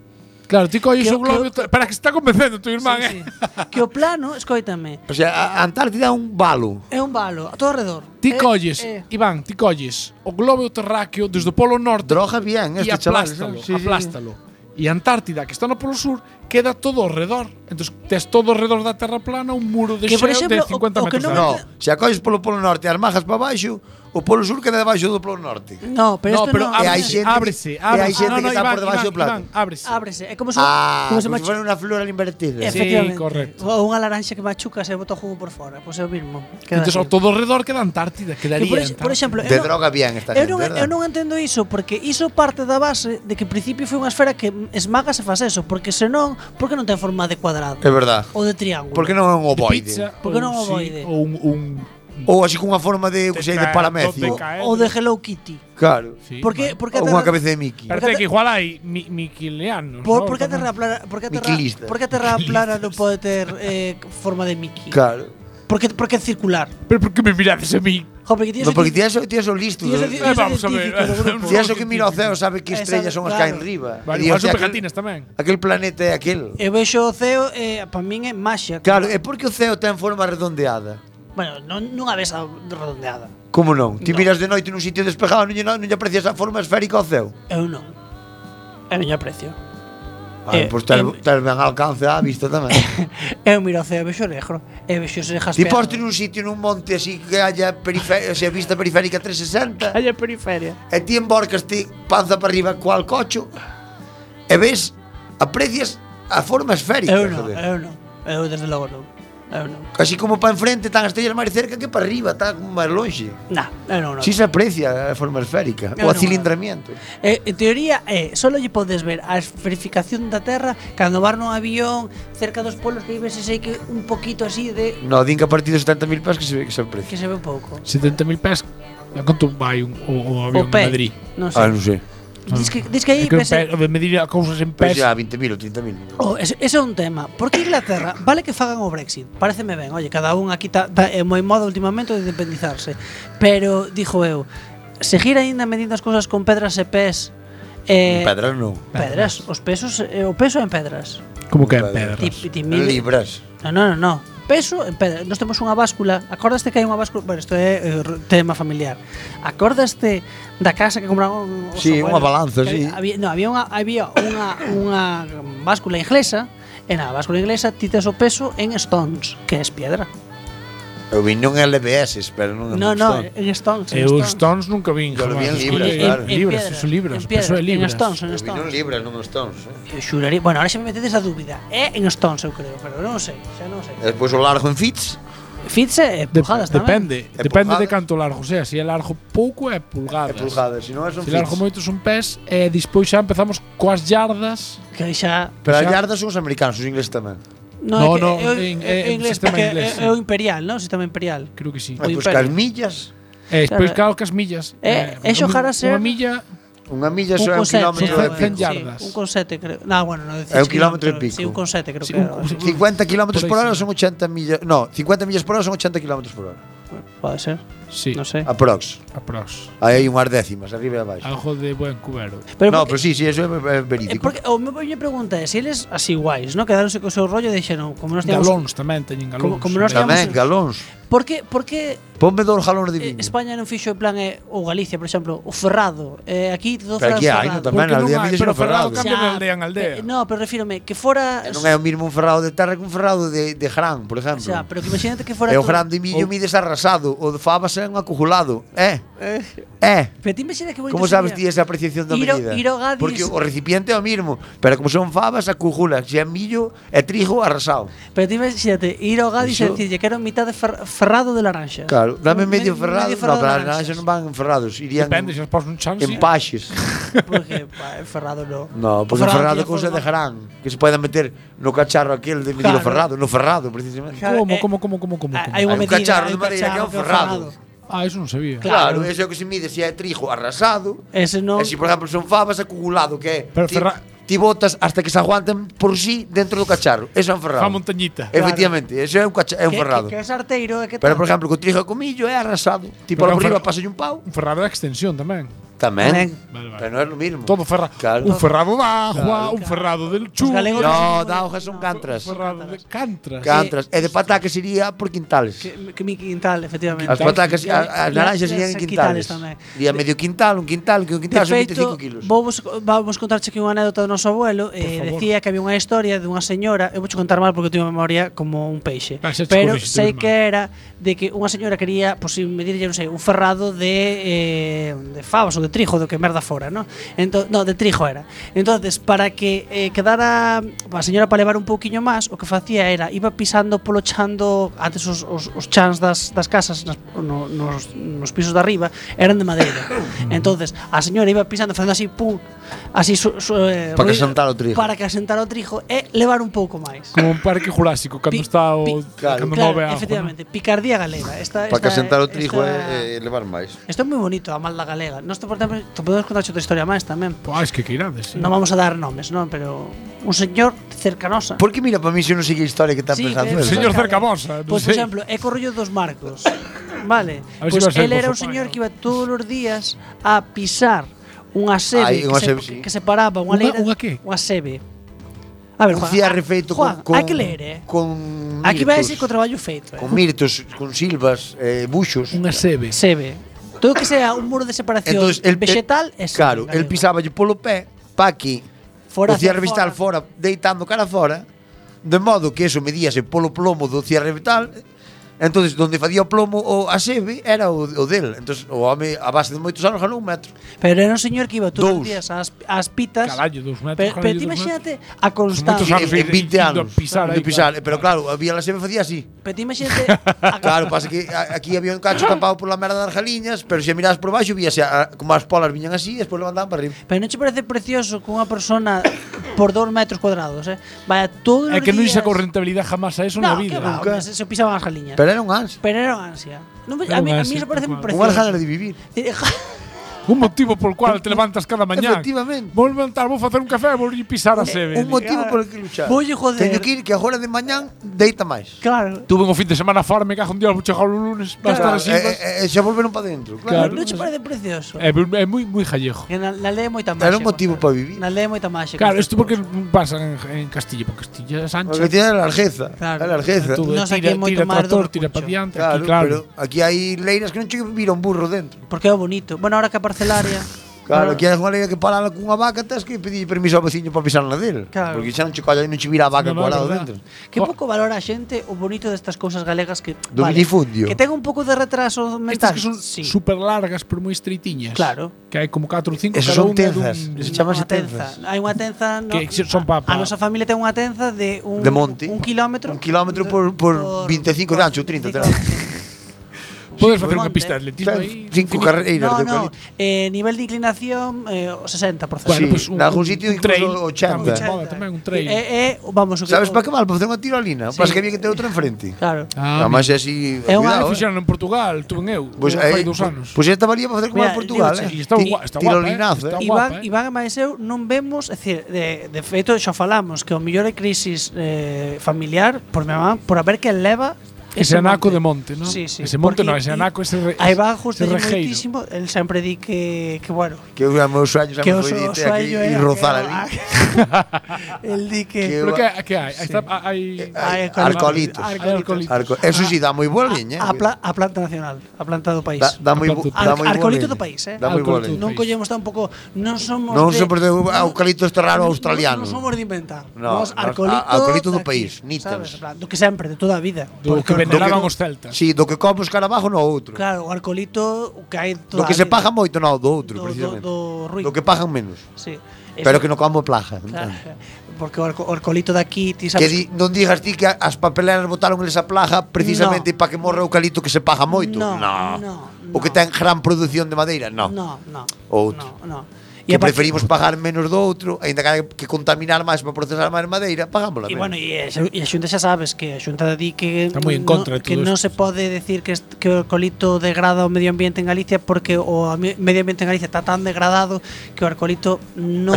H: Claro, ti colles
G: Que-
H: o globo.
G: que-
H: Para que se está convencendo tu irmán,
G: Sí, sí.
H: eh.
G: Que o plano, escoítame,
E: O sea, a- a Antártida é un balo.
G: é un balo, a todo alrededor. Eh,
H: Ti
G: É-
H: colles,
G: é-
H: Iván, ti colles o globo terráqueo desde o polo norte
E: Droga bien
H: e
E: este chaval.
H: aplástalo,
E: Sí, sí, sí.
H: aplástalo. E Antártida, que está no polo sur, queda todo ao redor. Entón, tes todo ao redor da Terra plana un muro de
G: Que, por
H: xeo de
G: exemplo, o-
H: 50
G: o que
H: metros. de
G: non-
H: alto.
E: No, se a coges polo polo norte e as majas para baixo, o polo sur queda debaixo do polo norte.
G: No, eh, pero
H: no,
G: isto
H: pero
G: non-
E: E hai
H: ábrese,
E: xente-
H: ábrese,
E: e hai
H: ábrese.
E: xente
H: Ah, no,
E: que
H: no,
E: está por
H: Iván,
E: debaixo do
H: Iván,
E: plato.
H: Iván, ábrese.
G: Ábrese. É como se, como
E: Ah, como
G: se
E: se fora
G: machuca.
E: unha flor al invertida.
H: Sí,
G: Efectivamente.
H: correcto.
G: Ou unha laranxa que machuca se bota o jugo por fora. Pois é o mismo. Queda
H: Entón,
G: así.
H: ao todo ao redor queda Antártida,
G: Que
H: quedaría
G: por, ex- por
H: Antártida.
G: exemplo,
E: De
G: eu non-
E: droga bien esta
G: Eu
E: gente,
G: non, eu non entendo iso porque iso parte da base de que en principio foi unha esfera que esmaga se faz eso, porque senón, por que non ten forma de cuadrado
E: É verdad.
G: ou de triángulo?
E: Por que non é un
H: De
E: ovoide?
H: pizza,
G: Por que non
H: ou sí,
G: ovoide?
H: Ou un, un ¿eh?
E: Ou así cunha forma de, que sei, de paramecio.
G: ou de Hello Kitty.
E: Claro.
G: Por que por que
E: Ou unha cabeza de Mickey.
H: Espérate que igual hai mi, miquileanos.
G: Por,
H: ¿no?
G: por que a
H: Tamén.
G: terra plana, por que a terra,
E: Miquilistas.
G: por que a terra plana non pode ter eh, forma de Mickey?
E: Claro.
G: Por que por que circular?
H: Pero por que me mirades a mí?
G: Jo, porque tío,
E: No, porque tías o tías o listo.
G: Tías o
H: Eh,
G: tías
H: vamos a ver.
G: científico do grupo.
E: Tías o que mira o ceo sabe que
G: Eh,
E: estrellas
G: sabe,
E: son as que hai
G: claro.
E: en riba.
H: Vale,
E: E,
H: igual
E: o sea,
H: son
E: aquel-
H: pegatinas tamén.
E: Aquel planeta é aquel.
G: Eu vexo o ceo, eh, para min é maxia.
E: Claro, é porque o ceo ten forma redondeada.
G: Bueno, non, non a ves a redondeada.
E: Como non? Ti
G: No.
E: miras de noite nun sitio despejado non lle, non lle aprecias a forma esférica ao ceo.
G: Eu non. Eu non lle aprecio.
E: Ah,
G: Eh,
E: pois tel,
G: em-
E: tel ben alcance a vista tamén.
G: Eu miro o ceo e vexo negro. E vexo se
E: Ti
G: jaspeado.
E: poste nun sitio nun monte así que haya perife- o sea, vista periférica 360
G: Ai, a periferia.
E: e ti emborcas ti panza para arriba cual cocho e ves, aprecias a forma esférica.
G: Eu non,
E: joder.
G: eu non. Eu desde logo non. Eu non.
E: Casi como para enfrente tan estrellas máis cerca que para arriba, tan como máis longe.
G: Nah, eu non. non.
E: Si se aprecia a forma esférica,
G: Eu
E: o a
G: non,
E: cilindramiento.
G: Eh, en teoría, eh, solo lle podes ver a esferificación da Terra cando vas nun avión cerca dos polos que ves ese que un poquito así de
E: No, din que a partir de 70.000 pés que se, ve- que se aprecia.
G: que se ve pouco.
H: 70.000 pés. A quanto vai un, o, o
G: O
H: avión de
G: pé.
H: Madrid?
G: Non sei.
E: Ah, non sei.
G: Dis que, dis que aí
H: É que o
G: pensei-
H: pé- o de medir a cousas en
E: Pois
H: pés.
E: xa, 20.000 ou 30.000.
G: Oh, ese, ese é un tema. Por que Inglaterra? Vale que fagan o Brexit. Pareceme ben. Oye, cada un aquí ta, ta, é moi moda últimamente de independizarse. Pero, dixo eu, seguir aínda medindo as cousas con pedras e pés eh,
E: Pedras non.
G: Pedras, os pesos, eh, o peso en pedras.
H: Como que en
E: Pedras.
H: pedras?
G: Ti, ti mide-
E: Libras.
G: No, no, no, no. peso en pedra. Nos temos unha báscula. Acordaste que hai unha báscula? Bueno, isto é eh, r- tema familiar. Acordaste da casa que compraron os
E: Sí, unha balanza,
G: Que
E: sí.
G: Había, no, había unha había unha unha báscula inglesa. E na báscula inglesa ti tes o peso en stones, que es piedra.
E: Eu vin nun LBS, pero non
G: No, no, eh, en stones. en
H: Eu
G: stones.
H: Stones nunca vi.
E: Yo lo vi en
H: jamás.
E: libros,
H: Sí,
E: claro.
H: en
G: En
H: libros,
G: piedra,
H: son libros.
G: en
H: Peso
G: piedra,
H: de libros.
G: En stones, en
E: Eu vi nun
G: stones.
E: libras, non nos tons.
G: Eu
E: Eh?
G: xuraría, bueno, ahora xa me metedes a dúbida. É en stones, eu creo, pero non sei, xa non sei.
E: E Despois o largo en fits.
G: Fitz eh, é
H: Dep-
G: pujadas tamén.
H: depende,
E: É
H: depende de
E: pulgadas.
H: canto largo sea. Se é largo pouco é
E: É
H: pulgadas.
E: pulgadas, se non é son
H: Se largo
E: fits.
H: moito son pés e despois xa empezamos coas yardas.
G: Que xa
E: Pero as
H: Xa-
E: yardas son os americanos, os ingleses tamén.
G: é
H: No,
G: que
H: no,
G: é o-
H: en-
G: é
H: é
G: o
H: en
G: inglés,
H: sistema
G: porque
H: inglés,
G: é-
H: sí.
G: É o imperial, non? O sistema imperial.
H: Creo que sí.
E: Ah,
G: O
E: pois
G: imperio.
E: cas millas.
H: E despois
G: Claro.
H: claro. as millas.
G: Eh, é xogar a ser-
H: Unha milla
E: Unha milla
G: Un
E: só é un
G: con sete,
E: kilómetro
H: son
E: de
G: eh,
H: cen
E: pico.
H: yardas.
G: Sí, un con sete, creo. No, bueno, no
E: É
G: decía.
E: un kilómetro e pico.
G: Sí, un con sete, creo
H: Sí,
G: que
H: un-
G: era.
H: un-
E: 50 kilómetros
H: Por
E: por
H: ahí
E: hora
H: sí.
E: son 80 millas. No, 50 millas por hora son 80 kilómetros por hora.
G: Pode ser,
H: Sí,
G: non
E: Ah,
G: sei.
E: Aprox.
H: aprox.
E: Aí hai unhas décimas, arriba e abaixo.
H: Eh. Algo de buen cubero.
G: Pero
E: no,
G: porque-
E: pero sí, sí, eso é é
G: eh,
E: verídico.
G: porque o meu miña pregunta eh, é se eles así guais, non? Quedaronse co seu rollo e dixeron, como nos tiamos
H: Galóns tamén teñen galóns.
G: Como- como nós
H: Tamén.
E: Tamén,
G: digamos-
E: galóns.
G: Por que por que
E: Ponme dous galones de
G: eh,
E: viño.
G: España non fixo en plan eh, ou Galicia, por exemplo, o Ferrado, eh, aquí todo Ferrado.
E: Pero aquí hai, non
G: Ferrado.
E: tamén
H: Porque
E: na aldea
H: non hai,
E: Millas
H: pero
E: non ferrado.
H: Ferrado Cambia de aldea en aldea.
G: eh, no, pero refírome que fora
E: E non é o mismo un ferrado de terra que un ferrado de, de Gran, por
G: o
E: exemplo.
G: sea, pero que imagínate que fora
E: e o
G: todo-
E: Gran de Millo mides arrasado, o de Fabas é un acujulado. É,
G: Eh.
E: é.
G: Pero ti imagina que bonito
E: Como sabes ti
G: sería.
E: esa apreciación da
G: Ir ao-
E: medida?
G: ir ao Gadis-
E: Porque o recipiente é o mismo, pero como son fabas, acujula, se é millo, é trigo arrasado.
G: Pero ti imagínate ir ao Gadis e
E: Iso-
G: dicirlle quero mitad de fer- ferrado de laranxa.
E: Claro, dame
G: Un
E: medio
G: me-
E: ferrado,
G: medio
E: no,
G: ferrado
E: pero
G: de
E: as naranxas
G: laranxas.
E: non van ferrados, irían
H: Depende, se os pos un chance.
E: en paxes.
G: Porque pá, ferrado no.
E: No, porque
G: O
E: o ferrado é
G: tiña
E: cousa
G: forma-
E: de Gran, que se poida meter no cacharro aquel de medir o
G: Claro.
E: ferrado, no ferrado, precisamente.
G: Claro,
H: Como,
G: eh,
H: como, como, como, como.
G: Hai
E: un
G: unha medida,
E: cacharro
G: hai
E: de
G: un
E: madeira que é
G: cacharro
E: un ferrado.
H: Ah, eso non sabía.
E: Claro,
G: Claro.
E: eso é o que se mide se é trigo arrasado.
G: Ese non.
E: E se, por exemplo, son fabas acugulado, que é
H: Pero
E: ti,
H: ferra-
E: ti botas hasta que se aguanten por sí dentro do cacharro. Eso é un ferrado.
H: Fa montañita.
E: Efectivamente, eso é un, cacha- é un
G: que-
E: ferrado.
G: Que, que é sarteiro e que
E: Pero,
G: tal.
E: por exemplo, co trigo e comillo é arrasado. Ti por
H: Pero é un
E: arriba
H: ferra-
E: pasalle un pau.
H: Un ferrado de extensión tamén.
E: Tamén.
H: Vale, vale.
E: Pero non é lo mismo.
H: Todo ferrado.
E: Claro.
H: Un ferrado de agua, un ferrado
G: Os
H: del chulo.
G: galegos
E: No,
G: non-
E: da hojas son
H: un
E: cantras.
H: ferrado de cantras.
E: Cantras. E de pataca sería por quintales.
G: que, que mi quintal, efectivamente.
E: As patacas,
G: E
E: a- as
G: as-
E: naranxas
G: as
E: serían en quintales.
G: quintales tamén.
E: Día medio quintal, un quintal, que un
G: De
E: quintal son
G: feito,
E: 25 kilos.
G: vos, vamos contarche aquí unha anécdota do noso abuelo eh,
H: favor.
G: Decía que había unha historia dunha señora Eu vou contar mal porque eu teño a memoria como un peixe
H: Ah, xa te
G: Pero
H: corrixiste
G: sei
H: mesmo.
G: que era de que unha señora quería Pois pues, medirlle, non sei, un ferrado de, eh, de favas ou de trigo Do que merda fora, non? Entón, no, de trigo era entonces para que eh, quedara A señora para levar un pouquiño máis O que facía era, iba pisando polo chan do Antes os, os, os chans das, das casas nas, no, nos, nos pisos de arriba Eran de madeira entonces a señora iba pisando facendo así pum, así su, su, eh,
E: Para que
G: ruido,
E: asentara o trigo.
G: para que asentara o trigo e levar un pouco máis.
H: Como un parque jurásico, cando
G: Pi-
H: está o...
G: pi-
E: Claro.
H: Cando
G: claro,
H: move a agua,
G: efectivamente, picardía galega. Esta,
E: Para que
G: esta-
E: asentar o trigo eh,
G: esta-
E: e, e levar máis.
G: Isto é moi bonito, a malda galega. Nos te podemos, te podemos contar outra historia máis tamén.
H: ¿no? Pua, Pues, es que que irades, sí.
G: Non vamos a dar nomes, non, pero un señor cercanosa.
E: Por que mira para mí se non sei que historia que está
G: Sí,
E: pensando?
G: pero-
E: esa?
H: Señor Cercabosa, non
G: Pois, por
H: sei.
G: exemplo, é co rollo dos Marcos. Vale.
H: A ver
G: Pois
H: se iba a ser
G: él era un
H: por su
G: señor
H: pai,
G: que iba todos os días a pisar unha
E: Ai,
G: sebe,
E: unha
G: que,
E: sebe,
G: se,
E: sí.
G: que separaba unha
H: Unha-
G: leira.
H: unha que?
G: Unha sebe. A ver,
E: un
G: Juan,
E: cierre
G: ah,
E: feito
G: Juan,
E: con, con
G: hai que ler, eh.
E: Con
G: Aquí vai a
E: mirtos,
G: ser co traballo feito, eh.
E: Con mirtos, con silvas, eh, buxos.
H: Unha sebe.
G: Sebe. Todo que sea un muro de separación
E: Entonces, el
G: vegetal é sebe,
E: Claro,
G: galego.
E: el pisaba polo pé, pa aquí,
G: Fora
E: o cierre
G: hacia
E: vital fora, deitando cara fora, de modo que eso medíase polo plomo do cierre vital, entonces donde facía o plomo o a sebe era o, o del. Entonces o home a base de moitos anos ganou un metro.
G: Pero era un señor que iba todos os
E: Dous.
G: días ás, ás pitas.
H: Carallo, dos
G: Pero, pero
H: metros, carallo,
G: ti
H: dos
G: imagínate a
H: Moitos
G: constancia.
H: anos.
E: En, en 20
H: indo a
E: anos.
H: pisar
E: de
H: aí,
E: pisar,
H: claro.
E: pero claro, había la sebe facía así.
G: Pero ti imagínate a,
E: Claro, pasa que a- aquí había un cacho tapado pola merda das galiñas, pero se mirabas por baixo víase a- como as polas viñan así e despois levantaban para arriba.
G: Pero non che parece precioso que unha persona por dos metros cuadrados, eh? Vaya todos os
H: É que non
G: días...
H: sacou rentabilidad jamás a eso
G: No,
H: na
G: que
H: vida.
G: va,
E: Nunca.
G: hombre, se, se pisaban as galiñas. Pero,
E: Pero era un ansia.
G: era unha ansia. Non me-
H: Era
G: a, mí, a
H: unha
G: mí
H: ansia,
G: eso parece
H: tal cual.
E: Unha
G: precioso.
E: gana de vivir.
H: Un motivo por cual te levantas cada mañá.
E: Efectivamente.
H: Vou levantar, vou facer un café e vou pisar
G: Eh,
H: a sebe.
E: Un motivo por el que luchar.
G: Voy a joder.
E: Teño que ir que agora de mañán deita máis.
G: Claro.
H: Tuve un fin de semana fora, me cago un día, vou chegar o lunes, va a estar
E: Claro,
H: así.
E: e- e- e xa volveron para dentro. Claro.
H: Claro. Eh.
G: non che parece precioso?
E: eh.
H: É, é moi, moi jallejo.
G: Que na, na lei é moita máxica.
E: Era un motivo para vivir.
G: Na lei é moita máxica.
H: Claro, isto porque pasa en, en Castilla, porque Castilla é
E: Porque
H: Sánchez.
E: tiene a largueza.
G: Claro.
E: A largueza.
H: Tú, eh,
G: Nós aquí é
H: tira,
G: moito
H: tira
G: máis do
H: trator, tira
G: recurso.
H: para diante,
E: Claro,
H: aquí, claro.
E: pero aquí hai leiras que non chega a vivir a un burro dentro.
G: Porque é o bonito. Bueno, ahora que a parcelaria. ahora-
E: Claro, aquí hai unha leira que parala cunha vaca, tes que pedir permiso ao veciño para pisar na del.
G: Claro.
E: Porque xa non che colla e non che vira a vaca
H: Non, non,
E: no, coalado
H: é verdad.
E: dentro.
G: Que
H: Jo-
G: pouco valora a xente o bonito destas cousas galegas que
E: Do minifundio.
G: Que ten un pouco de retraso
H: Estas
G: mental.
H: que son
G: sí.
H: super largas, pero moi estritiñas.
G: Claro.
H: Que hai como 4 ou 5
E: Esas
H: cada
E: son
H: unha dun-
E: tenzas. Esas chamanse
G: Unha tenza.
E: tenzas.
G: Hai unha tenza no,
H: Que son pa-
G: A
H: pa-
G: nosa familia ten unha tenza de un
E: De monte.
G: un kilómetro.
E: Un kilómetro por- por 25 de ancho, 30 terá.
H: Podes
G: Sí,
H: facer unha
G: monte.
H: pista de atletismo
E: Ten
H: aí.
E: Cinco carreiras
G: No,
E: de
G: no,
E: eucalipto.
G: eh, nivel de inclinación eh, o 60%.
H: Bueno,
E: Sí,
H: pois un,
E: nalgún sitio
H: un trail,
E: incluso 80.
H: tamén, moda, tamén un trail.
G: Eh, eh, vamos, o que- o-
E: Sabes para que mal? Para facer unha tirolina.
G: Sí.
E: Pasa que había que ter outra enfrente.
G: Claro.
H: Ah,
E: Nada máis é así,
G: É unha-
E: cuidado. eh. Pues,
H: fixaron en Portugal, tuve eu,
E: Pois
H: eh,
E: aí,
H: fai dous anos.
E: pois esta valía para facer como
G: Mira,
E: en Portugal,
G: digo,
E: eh.
H: sí, está
E: Ti-
H: gua- está guapa, eh.
E: Tirolinazo, eh.
H: Está
G: Iván,
H: guapa, eh?
G: Iván e máis eu non vemos, é dicir, de, de feito xa falamos que o mellor é crisis eh, familiar por mi mamá, por a ver que leva
H: Ese anaco de monte, non?
G: Sí, sí.
H: Ese monte
G: porque-
H: non, ese anaco, ese re-
G: A Iván justo
H: ese rejeiro.
G: moitísimo, el sempre di que, que bueno,
E: Que eu amo os sueños,
G: que o
E: amo foi
G: so- o
E: dite aquí
G: sueño
E: e
G: era
E: rozar
G: que-
E: ali.
G: el di que...
H: Pero
E: Que-
H: que, que hai? Aí está-
G: Hai
H: hai,
E: Ai,
G: alcohol-
E: Alcoholitos.
H: hai alcoholitos.
E: Arco- Eso sí dá moi boa liña.
G: Ah, a,
E: eh.
G: pla- a planta nacional, a planta do país.
E: Dá, dá moi bo-
H: Alcoholito.
E: dá moi boa
G: Alcoholito do
E: leña.
G: país, eh.
E: Dá moi boa leña.
H: Alcoholito.
G: Non
H: país.
G: collemos tampouco, non somos
E: Non
G: de-
E: somos de eucalipto este raro
G: Non
E: australiano.
G: somos de inventar.
E: No,
G: Nós
E: nós-
G: alcoholito,
E: a- alcoholito do
G: daqui,
E: país, nítios.
G: sabes, en plan, do que sempre, de toda a vida.
H: Do que veneraban os celtas.
E: Si, do que come os carabajo no outro.
G: Claro, o alcoholito o que hai toda
E: Do que
G: a
E: se
G: vida.
E: paja moito no do outro,
G: Do-
E: precisamente.
G: do- do ruido.
E: Do que pajan menos.
G: Sí.
E: Pero que no como plaja.
G: Claro,
E: entende?
G: porque o alco- o alcoholito daqui, ti sabes...
E: Que di, non digas ti que as papeleras botaron esa plaja
G: No.
E: precisamente para que morra o eucalipto que se paja moito.
G: No,
E: No.
G: no,
E: O que
G: no.
E: ten gran produción de madeira, no.
G: No, no.
E: Outro.
G: No, no.
E: Que
G: aparte-
E: preferimos pagar menos do outro, aínda que haya que contaminar máis para procesar máis madeira, pagámosla
G: E
E: menos.
G: bueno, e a xu- e a Xunta xa sabes que a Xunta di que
H: Está moi en
G: no,
H: contra de
G: que
H: todo
G: non se
H: isto.
G: pode decir que, est- que o alcoholito degrada o medio ambiente en Galicia porque o ami- medio ambiente en Galicia está tan degradado que o alcoholito non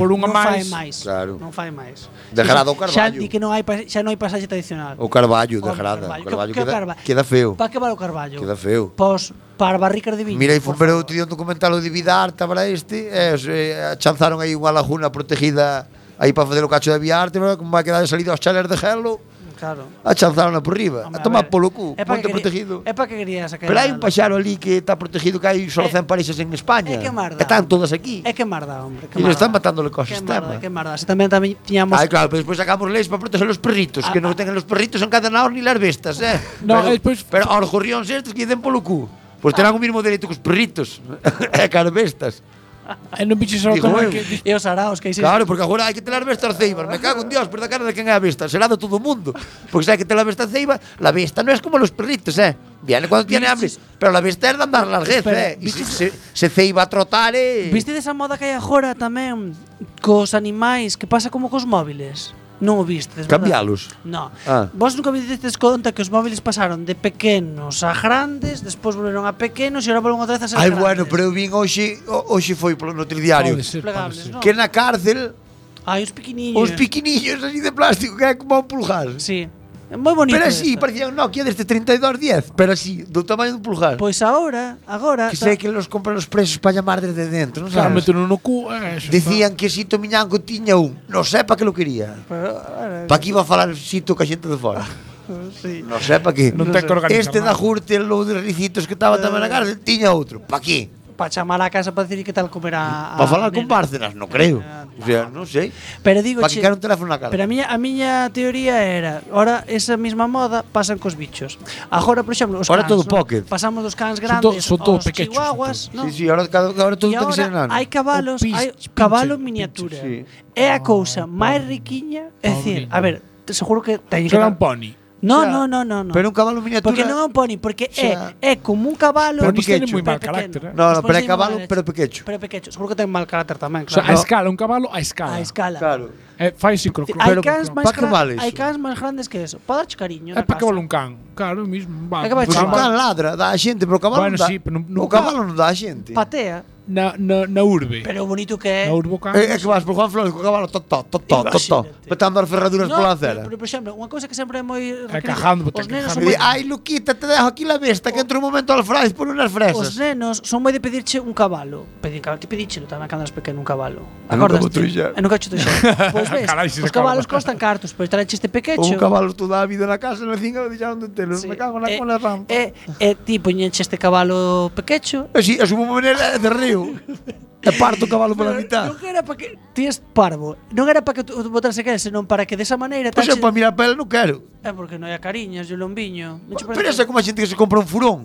G: fa,
H: Por
G: non
H: unha
G: fai
H: máis.
G: máis.
E: Claro.
G: Non fai máis.
E: Degrada o
G: Xa
E: Carballo.
G: di que non hai pas- xa non hai pasaxe tradicional.
E: O
G: Home,
E: Carballo, degrada. O Carballo
G: Que- que o
E: queda,
G: Carballo?
E: queda feo.
G: Pa que vale o Carballo?
E: Queda feo.
G: Pos para barricas de viño.
E: Mira, e
G: por favor.
E: pero outro día un documental o de Vida Arte para este, e os, eh, chanzaron aí unha laguna protegida aí para facer o cacho de Vida Arte, pero como vai quedar salida aos chaler de gelo,
G: Claro.
E: a chanzaron por riba,
G: Home,
E: a tomar
G: ver,
E: Ah, polo cu,
G: é pa que
E: monte
G: quería-
E: protegido.
G: É para que querías sacar.
E: Pero hai un paxaro ali que está protegido que hai só
G: É-
E: 100 parexas en España.
G: É eh, que marda.
E: Están todas aquí.
G: É que marda, hombre. Que
E: E
G: marda.
E: nos están matándole co
G: Que
E: sistema.
G: marda, que marda. Se tamén tamén tiñamos
E: Ay, claro, pero despois sacamos leis para proteger los perritos,
G: Ah,
E: que
G: ah.
E: non tengan los perritos encadenados ni las bestas, eh.
H: No,
E: pero,
H: e despois-
E: pero aos gorrións estes que den polo cu. Pois terán o mesmo dereito que os perritos e que as bestas.
H: E non bicho só
E: Digo
H: tamén
E: eu.
H: que di-
G: E os araos que hai
E: Claro, porque agora hai que ter as bestas ceibas. Me cago en Dios, pero da cara de quen é a besta. Será de todo o mundo. Porque se hai que ter a besta ceiba, la besta non é como los perritos, eh. Viene cuando tiene hambre,
G: Biches.
E: pero la besta é de andar larguez,
G: Espera,
E: eh. E se, se, se ceiba a trotar, eh.
G: Viste desa moda que hai agora tamén cos animais que pasa como cos móviles? Non o vistes, verdad?
E: Cambialos.
G: No.
E: Ah.
G: Vos nunca vistedes conta que os móviles pasaron de pequenos a grandes, despois volveron a pequenos e agora volven outra vez a ser
E: Ai,
G: grandes.
E: bueno, pero eu vin hoxe, ho- hoxe foi polo notidiario.
H: Pode ser, pode
G: Plegables,
H: ser.
G: non?
E: Que na cárcel
G: Ai, os pequeniños.
E: Os piquinillos así de plástico que é como un pulgar.
G: Sí. É moi bonito.
E: Pero así,
G: isto.
E: parecía un Nokia deste e 3210, pero así, do tamaño dun pulgar.
G: Pois agora, agora...
E: que
G: ta-
E: sei que los compran os presos para llamar desde dentro, non
H: Claro,
E: sabes?
H: meter no cu, eh, xa está.
E: Dicían que Sito Miñanco tiña un, non sei para que lo quería.
G: Pero, eh, ahora-
E: Para que iba a falar Sito ca xente de fora.
G: sí.
E: Non sei para que.
H: Non ten que organizar
E: Este da
H: nada.
E: Jurte, o de Ricitos que estaba tamén
G: Eh.
E: na cárcel, tiña outro. Para que?
G: Para chamar a casa para decir que tal comerá...
E: Para falar con Bárcenas, non creo. O sea, non sei.
G: Pero Ah, digo,
E: Para
G: che-
E: quitar un teléfono na cara.
G: Pero a miña, a miña teoría era Ora esa mesma moda pasan cos bichos Agora, por exemplo, os
E: Ora
G: cans
E: todo
G: non?
E: pocket.
G: Pasamos dos cans
H: Son to-
G: grandes
H: son todo
G: aos
H: pequechos,
G: chihuahuas non?
H: son
E: Sí, sí, ahora, cada- ahora todo
G: E
E: ten que ser
G: agora
E: enano.
G: hai cabalos,
H: O pis-
G: hai
H: pinche,
G: cabalo en
H: pinche,
G: miniatura.
E: sí.
G: É a cousa máis riquiña, é dicir, a ver, te seguro que teño que
H: Será
G: dar-
H: un pony.
G: No,
E: Xa,
G: no, no, no, no.
E: Pero un cabalo miniatura.
G: Porque non é un pony, porque
E: Xa.
G: é é como un cabalo
H: Pero
E: Pero
H: isto ten
E: pequecho.
H: moi mal
G: pequeno.
H: carácter, eh.
E: No, no,
G: Despois
E: pero é
G: de
E: cabalo,
G: mala
E: pero
G: leche.
E: pequecho.
G: Pero pequecho, seguro que ten mal carácter tamén,
H: O sea, a
G: claro.
H: escala, un cabalo a
G: a
H: escala.
G: escala.
E: Claro.
H: Eh, fai así, croc, croc,
G: Hai
H: croc,
G: cans
H: croc.
G: máis
E: pa que vale
G: grandes, hai
E: iso?
G: cans máis grandes que eso. Para darche cariño
H: É
G: na
H: para
G: casa.
H: que vale un can. Claro, o mismo. Va,
G: É que vai
E: Pois
H: un
G: Pues
E: o
G: chamar.
E: can
H: can.
E: ladra, dá a xente, pero o cabalo
H: Bueno,
E: non dá.
H: sí, pero non-
E: o
H: nunca-
E: cabalo non dá a xente.
G: Patea,
H: na, na, na urbe.
G: Pero eh, o bonito que é.
H: na urboca.
E: Eh, É, é que vas por Juan Flores co cabalo to to to to to to
G: Imagínate.
E: Petando as ferraduras pola
G: pero,
E: acera
G: pero, por exemplo, unha cousa que sempre é moi requerida. Os
H: cajando, botella
G: nenos
H: cajando.
G: son
E: E
G: moi
E: di, Ai, Luquita, te dejo aquí la besta Que entre un momento al frais por unas
G: Oh. Os
E: fresas
G: nenos son moi de pedirche un cabalo. Pedín cabalo, ti pedíchelo tamén cando eras pequeno un cabalo.
E: nunca
G: Acordas?
E: vou truxar.
G: Eu nunca che truxar. Pois ves,
H: Carai, se
G: os
H: se
G: cabalos
H: acaba.
G: costan cartos, pero traeche este pequecho.
E: Un cabalo toda a vida na casa Na cinga lo deixaron de telo
G: Sí.
E: Me cago na
G: Eh,
E: cola rampa
G: E, e ti poñenche este cabalo pequecho.
E: E si, es unha maneira de río E parto o cabalo pola mitad
G: Non era para que ti es parvo. Non era para que tu botarse que, senón para que desa maneira
E: Pois eu
G: tache-
E: para mirar para ela non quero
G: É porque non hai cariñas, yo lombiño. Non che
E: Pero esa é como a xente que se compra un furón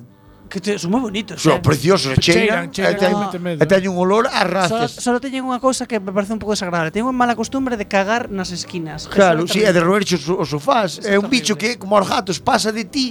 G: que te, son moi bonitos. eh.
E: Son preciosos, cheiran
H: Cheiran, cheiran,
E: E teñen-
H: realmente medo,
E: e teñen un olor a
G: Solo,
E: razas
G: solo teñen unha cousa que me parece un pouco desagradable. Teñen unha mala costumbre de cagar nas esquinas.
E: Claro,
G: Eso
E: si, é de roerche os os sofás É un
G: terrible.
E: bicho que, como aos gatos, pasa de ti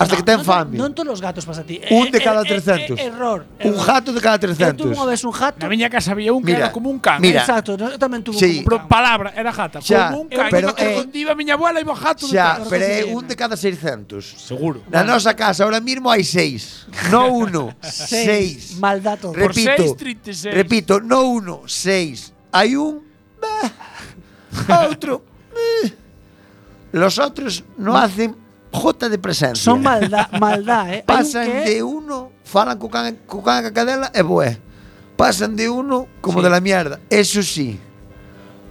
E: Hasta que ten
G: non,
E: fame
G: Non todos os gatos pasa a ti. Eh,
E: Un de cada
G: eh,
E: 300.
G: eh, error.
E: Un
G: error.
E: gato de
G: Eu
E: cada
G: tuve
E: 300.
G: unha vez un gato.
H: Na miña casa había un que
E: Mira,
H: era como un can.
E: mira.
G: Exacto, no, eu tamén tuve
E: Sí.
G: como
H: Pero palabra, era jata.
E: Xa,
H: como un can.
E: pero
H: Pero, que
E: é-
H: escondía a miña abuela e o jato
E: Xa,
H: detrás.
E: pero é
G: sí.
E: un de cada 600.
H: Seguro.
E: Na nosa casa ahora mismo hai seis. No uno, seis.
G: Mal dato.
H: Por
E: Repito,
H: seis, 36.
E: repito, no uno, seis. Hai un, bah, outro. eh. Los otros no hacen jota de presencia.
G: Son maldad, maldad, eh. Hai un que
E: Pasan
G: é-
E: de uno, falan co can, co can a cadela e boé. Pasan de uno como
G: Sí.
E: de la mierda. Eso sí,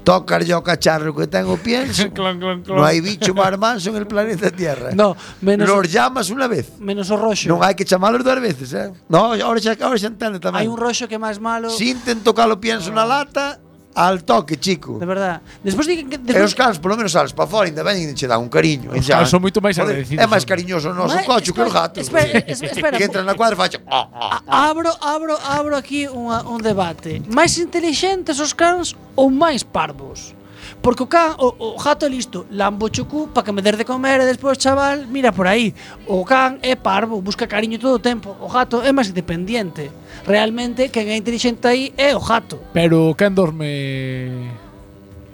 E: tocar yo cacharro que tengo pienso.
H: Clon, clon, clon.
E: No hay bicho más manso en el planeta Tierra.
G: No, menos
E: Los llamas una vez.
G: menos o roxo.
E: Non hai que chamalos dúas veces, eh? No, ahora xa, ahora xa entende tamén.
G: Hai un roxo que é máis malo.
E: Si intento calo pienso na lata, al toque, chico.
G: De verdad. Despois di que
E: E os
G: despois,
E: cans, polo menos, sales para fora, ainda ben, che dan un cariño. e
H: Os
E: xa.
H: cans son moito máis
E: Joder,
H: agradecidos,
E: É máis
H: son.
E: cariñoso o noso
G: Ma-
E: cocho que os
G: espera,
E: gatos.
G: espera, es- espera. Ah,
E: Que entran na cuadra e faccio...
G: abro, abro, abro aquí unha, un debate. Máis intelixentes os cans ou máis parvos? Porque o can, o, o jato é listo, lambo o chucú para que me der de comer e despois, chaval, mira por aí. O can é parvo, busca cariño todo o tempo. O jato é máis independiente. Realmente, quen é intelixente aí é o jato.
H: Pero quen dorme...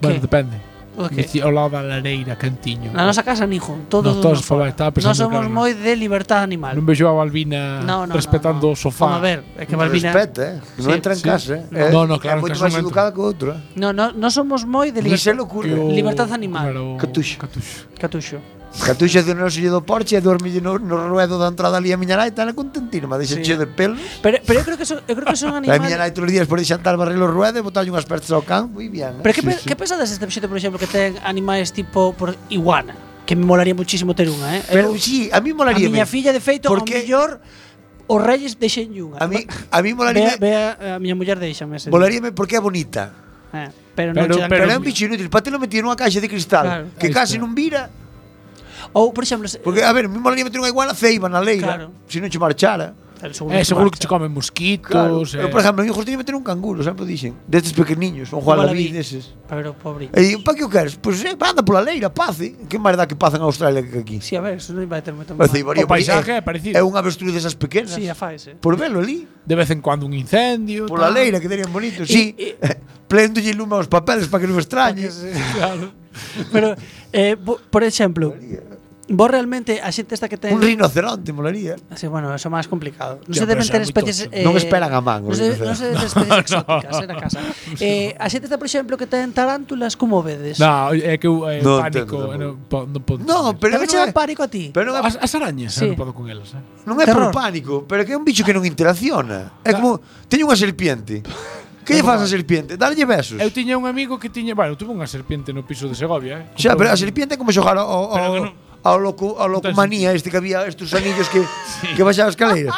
H: Bueno, depende.
G: O que?
H: Dici, Ao lado da lareira, cantiño.
G: Na nosa casa, nijo, todos
H: Nos todos
G: nos fora.
H: fora,
G: Nós
H: estaba pensando,
G: somos
H: claro, no.
G: moi de libertad animal.
H: Non vexo a Balbina
G: No, no,
H: respetando
G: no, no.
H: o sofá.
G: Vamos a ver, é que Balbina...
E: Respeta, eh? Non
G: Sí,
E: entra en
H: sí.
E: casa, eh?
H: No, no, claro,
E: É
H: en
E: moito
H: casa
E: máis
H: non entra.
E: educada que outro, eh?
G: No, no, no somos moi de
E: Ni
G: libertad.
E: se le
H: Que
E: ocurre.
H: o-
G: Libertad animal.
H: como era o-
E: Catuxo.
H: Catuxo.
G: Catuxo.
E: Catuxa de noso lle do porche e dorme no, no ruedo da entrada ali a miña nai, tan contentísima, deixa che de pelos.
G: Pero, pero eu creo que son, eu creo que son
E: E a
G: animales.
E: miña nai todos os días por xantar barril o ruedo e botarlle unhas pertas ao can, moi bien, eh?
G: Pero que, pe- que pensades deste proxecto, por exemplo, que ten animais tipo por iguana, que me molaría muchísimo ter unha, eh?
E: Pero
G: Eu-
E: sí, a
G: a
E: mí molaría.
G: miña filla de feito o
E: porque-
G: mellor os reyes deixen unha.
E: A mí a
G: Ve,
E: mí molaría.
G: ve a, a miña muller deixame ese.
E: Molaríame porque é bonita.
G: Eh, pero, non
H: Pero-
G: che dan
E: Pero, é
H: Pero
E: un
H: mi-
E: bicho inútil, para telo metido nunha caixa de cristal
G: Claro.
E: que
H: Ahí
E: case
H: está.
E: non vira,
G: Ou por exemplo, se-
E: porque a ver, a mí molaría meter unha iguana ceiba na leira,
G: Claro.
E: se non che marchara.
G: Eh,
H: É, seguro que
G: marcha.
H: che comen mosquitos.
E: Claro. Pero
H: eh.
E: por exemplo, meus hijos teñen meter un canguro, sempre dixen, destes pequeniños, un
G: Igual
E: Juan
G: a vi.
E: Lavín deses.
G: Pero pobre.
E: E di, pa que o queres? Pois eh, anda pola leira, pace. Que máis dá que pace en Australia que aquí?
G: Si, sí, a ver, eso non vai ter moito
E: A
G: mal.
E: ceibaría,
H: O paisaje
E: porque
H: é parecido.
E: É un avestruz desas pequenas.
G: Si, a fais, eh.
E: Por velo ali,
H: De vez en cuando un incendio.
E: pola
H: tal.
E: leira que terían bonito, si.
G: e-
E: Pléndolle lume aos papeles para que non extrañes.
G: Claro. Pero eh, bo- por exemplo, vos realmente a xente esta que ten
E: Un rinoceronte molaría.
G: Sí, bueno, eso é máis complicado. Non se
H: Ya, pero
G: deben
H: xa
G: ter
H: é moi
G: especies...
H: tocho.
G: Eh,
E: Non esperan a man,
G: Non se,
E: o que
G: non se deben ter especies exóticas eh, na casa. Eh, a xente está, por exemplo, que ten tarántulas, como vedes?
H: No, é que eu, eh,
E: No
H: pánico.
E: entendo,
H: eh,
E: no.
H: Non po- non podo
E: No,
H: saber.
E: pero
G: Tamén che
E: non
G: dá
E: é,
G: pánico a ti.
E: pero non é,
H: As, as arañas,
G: Sí.
H: eh, non podo con elas. Eh.
E: non é por
G: terror.
E: pánico, pero que é un bicho que non interacciona. É como teño unha serpiente. Que lle faz a serpiente? Darlle besos.
H: Eu tiña un amigo que tiña, bueno, tuve unha serpiente no piso de Segovia, eh.
E: Xa, pero a
H: Comprou-
E: serpiente é como xogar ao ao,
H: Pero que
E: ao,
H: non-
E: ao loco ao locomanía este que había estes anillos que que baixaba as caleiras.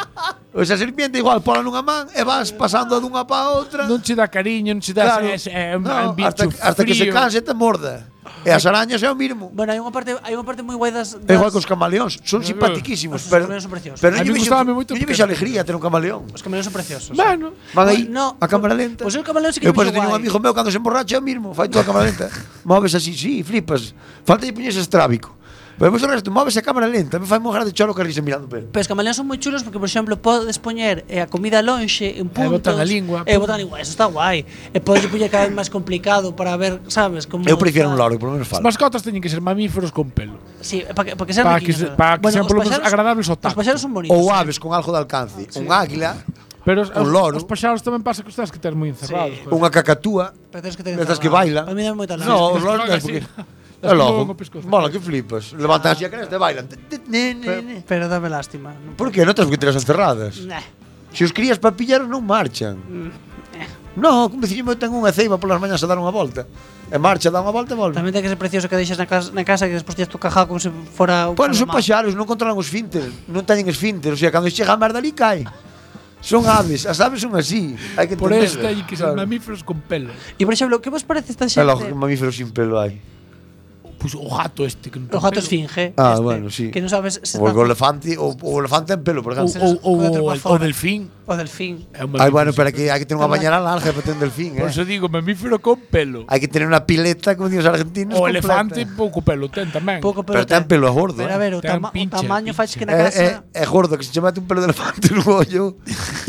E: O sea, a serpiente igual pola nunha man e vas pasando a dunha pa a outra.
H: non che dá cariño, non che dá
E: claro,
H: ese- é eh, un- é
E: no,
H: un
E: hasta,
H: bicho
E: hasta que se
H: frío.
E: canse te morda. E as arañas é o mismo.
G: Bueno, hai unha parte, hai unha parte moi guai das, das
E: É igual que os camaleóns, son simpatiquísimos,
G: Os
E: pero
G: camaleóns son preciosos.
E: pero
H: A
E: non
H: mí
E: lle vexo-
H: gustábame moito
E: non lle
H: porque
E: vexo
H: eran
E: alegría ter un camaleón.
G: Os camaleóns son preciosos. ¿eh?
H: Bueno,
E: Van aí
G: No,
E: a cámara lenta.
G: Pois eu camaleón sí que
E: Eu
G: me
E: por teño un
G: guai.
E: amigo meu cando se emborracha é o mismo, fai toda a cámara lenta. Moves así, sí, flipas. Falta lle puñes estrábico. Pero depois o resto, moves a cámara lenta, me fai mojar de cholo que risa mirando pel.
G: Pero os camaleóns son moi chulos porque, por exemplo, podes poñer eh, a comida lonxe en puntos.
H: botan a lingua,
G: E
H: pum.
G: botan a lingua, eso está guai. E podes poñer cada vez máis complicado para ver, sabes, como...
E: Eu prefiero un
G: está-
E: loro, que polo menos
H: As
E: fala.
H: mascotas teñen que ser mamíferos con pelo.
G: Sí, para que, pa que sean
H: Pa que
G: riquiños, verdad.
H: se- pa que sean
G: os
H: polo menos
G: paxaros-
H: agradables ao
G: Os
H: tacto.
G: paxaros son bonitos.
E: Ou
G: eh.
E: aves con algo de alcance, un águila,
H: Pero os,
E: Un
H: os-
E: loro.
H: os paxaros tamén pasa que os tens que ter moi
G: Sí.
H: encerrados. joder.
E: Unha cacatúa
G: Pero tens que ter encerrado.
E: Estas que bailan.
G: Para mí dá moita lástima.
E: No, os
H: que
E: loros
H: van
E: non,
H: así.
E: porque... É
H: Las
E: logo.
H: pongo pescozo.
E: Mola, que flipas. Levantan así a cresta e bailan.
G: Pero, pero dame lástima.
E: Por que? Non tens que ter as encerradas.
G: Nah.
E: Se os crías para pillar non marchan. No, como dicimos, ten unha ceiba polas mañas a dar unha volta. E marcha, dá unha volta e volve.
G: Tamén ten que ser precioso que deixas na casa, na casa que despois tens tu cajado como se fora un
E: Bueno, son
G: palomar.
E: paxaros, non controlan os finter, non teñen esfínter, o sea, cando chega a merda ali cae. Son aves, as aves son así, hai que
H: Por
E: entender.
H: eso teñen que ser mamíferos con pelo.
G: E por exemplo, que vos parece esta
E: É logo
G: xente?
E: que mamífero sin pelo hai.
H: Pois o gato este que
G: O
H: non ten
G: gato
H: pelo.
G: esfinge.
E: Ah, bueno, sí.
G: Este, Que non sabes se está-
E: O, o elefante, o, o elefante ten pelo, por
H: Ou,
E: exemplo.
H: ou, ou,
G: Pode ter
H: o,
G: unha
H: el- o
G: forma.
H: delfín.
G: o delfín.
H: É un
E: Ai,
H: mamífero.
E: bueno, pero aquí hai que ter unha
G: Tamén.
E: bañera larga para ter un delfín,
H: Por
E: eh.
H: eso digo, mamífero con pelo.
E: Hai que ter unha pileta, como dicen os argentinos,
H: O
E: completa.
H: elefante pouco pelo ten tamén.
G: Pouco
E: Pero ten pelo a gordo,
G: Pero a
E: eh.
G: ver, o,
H: Ten
G: tama
H: pinche,
G: o tamaño
H: pinche.
G: faz que na
E: É,
G: casa...
E: é, é Eh, gordo que se che mete un pelo de elefante no ollo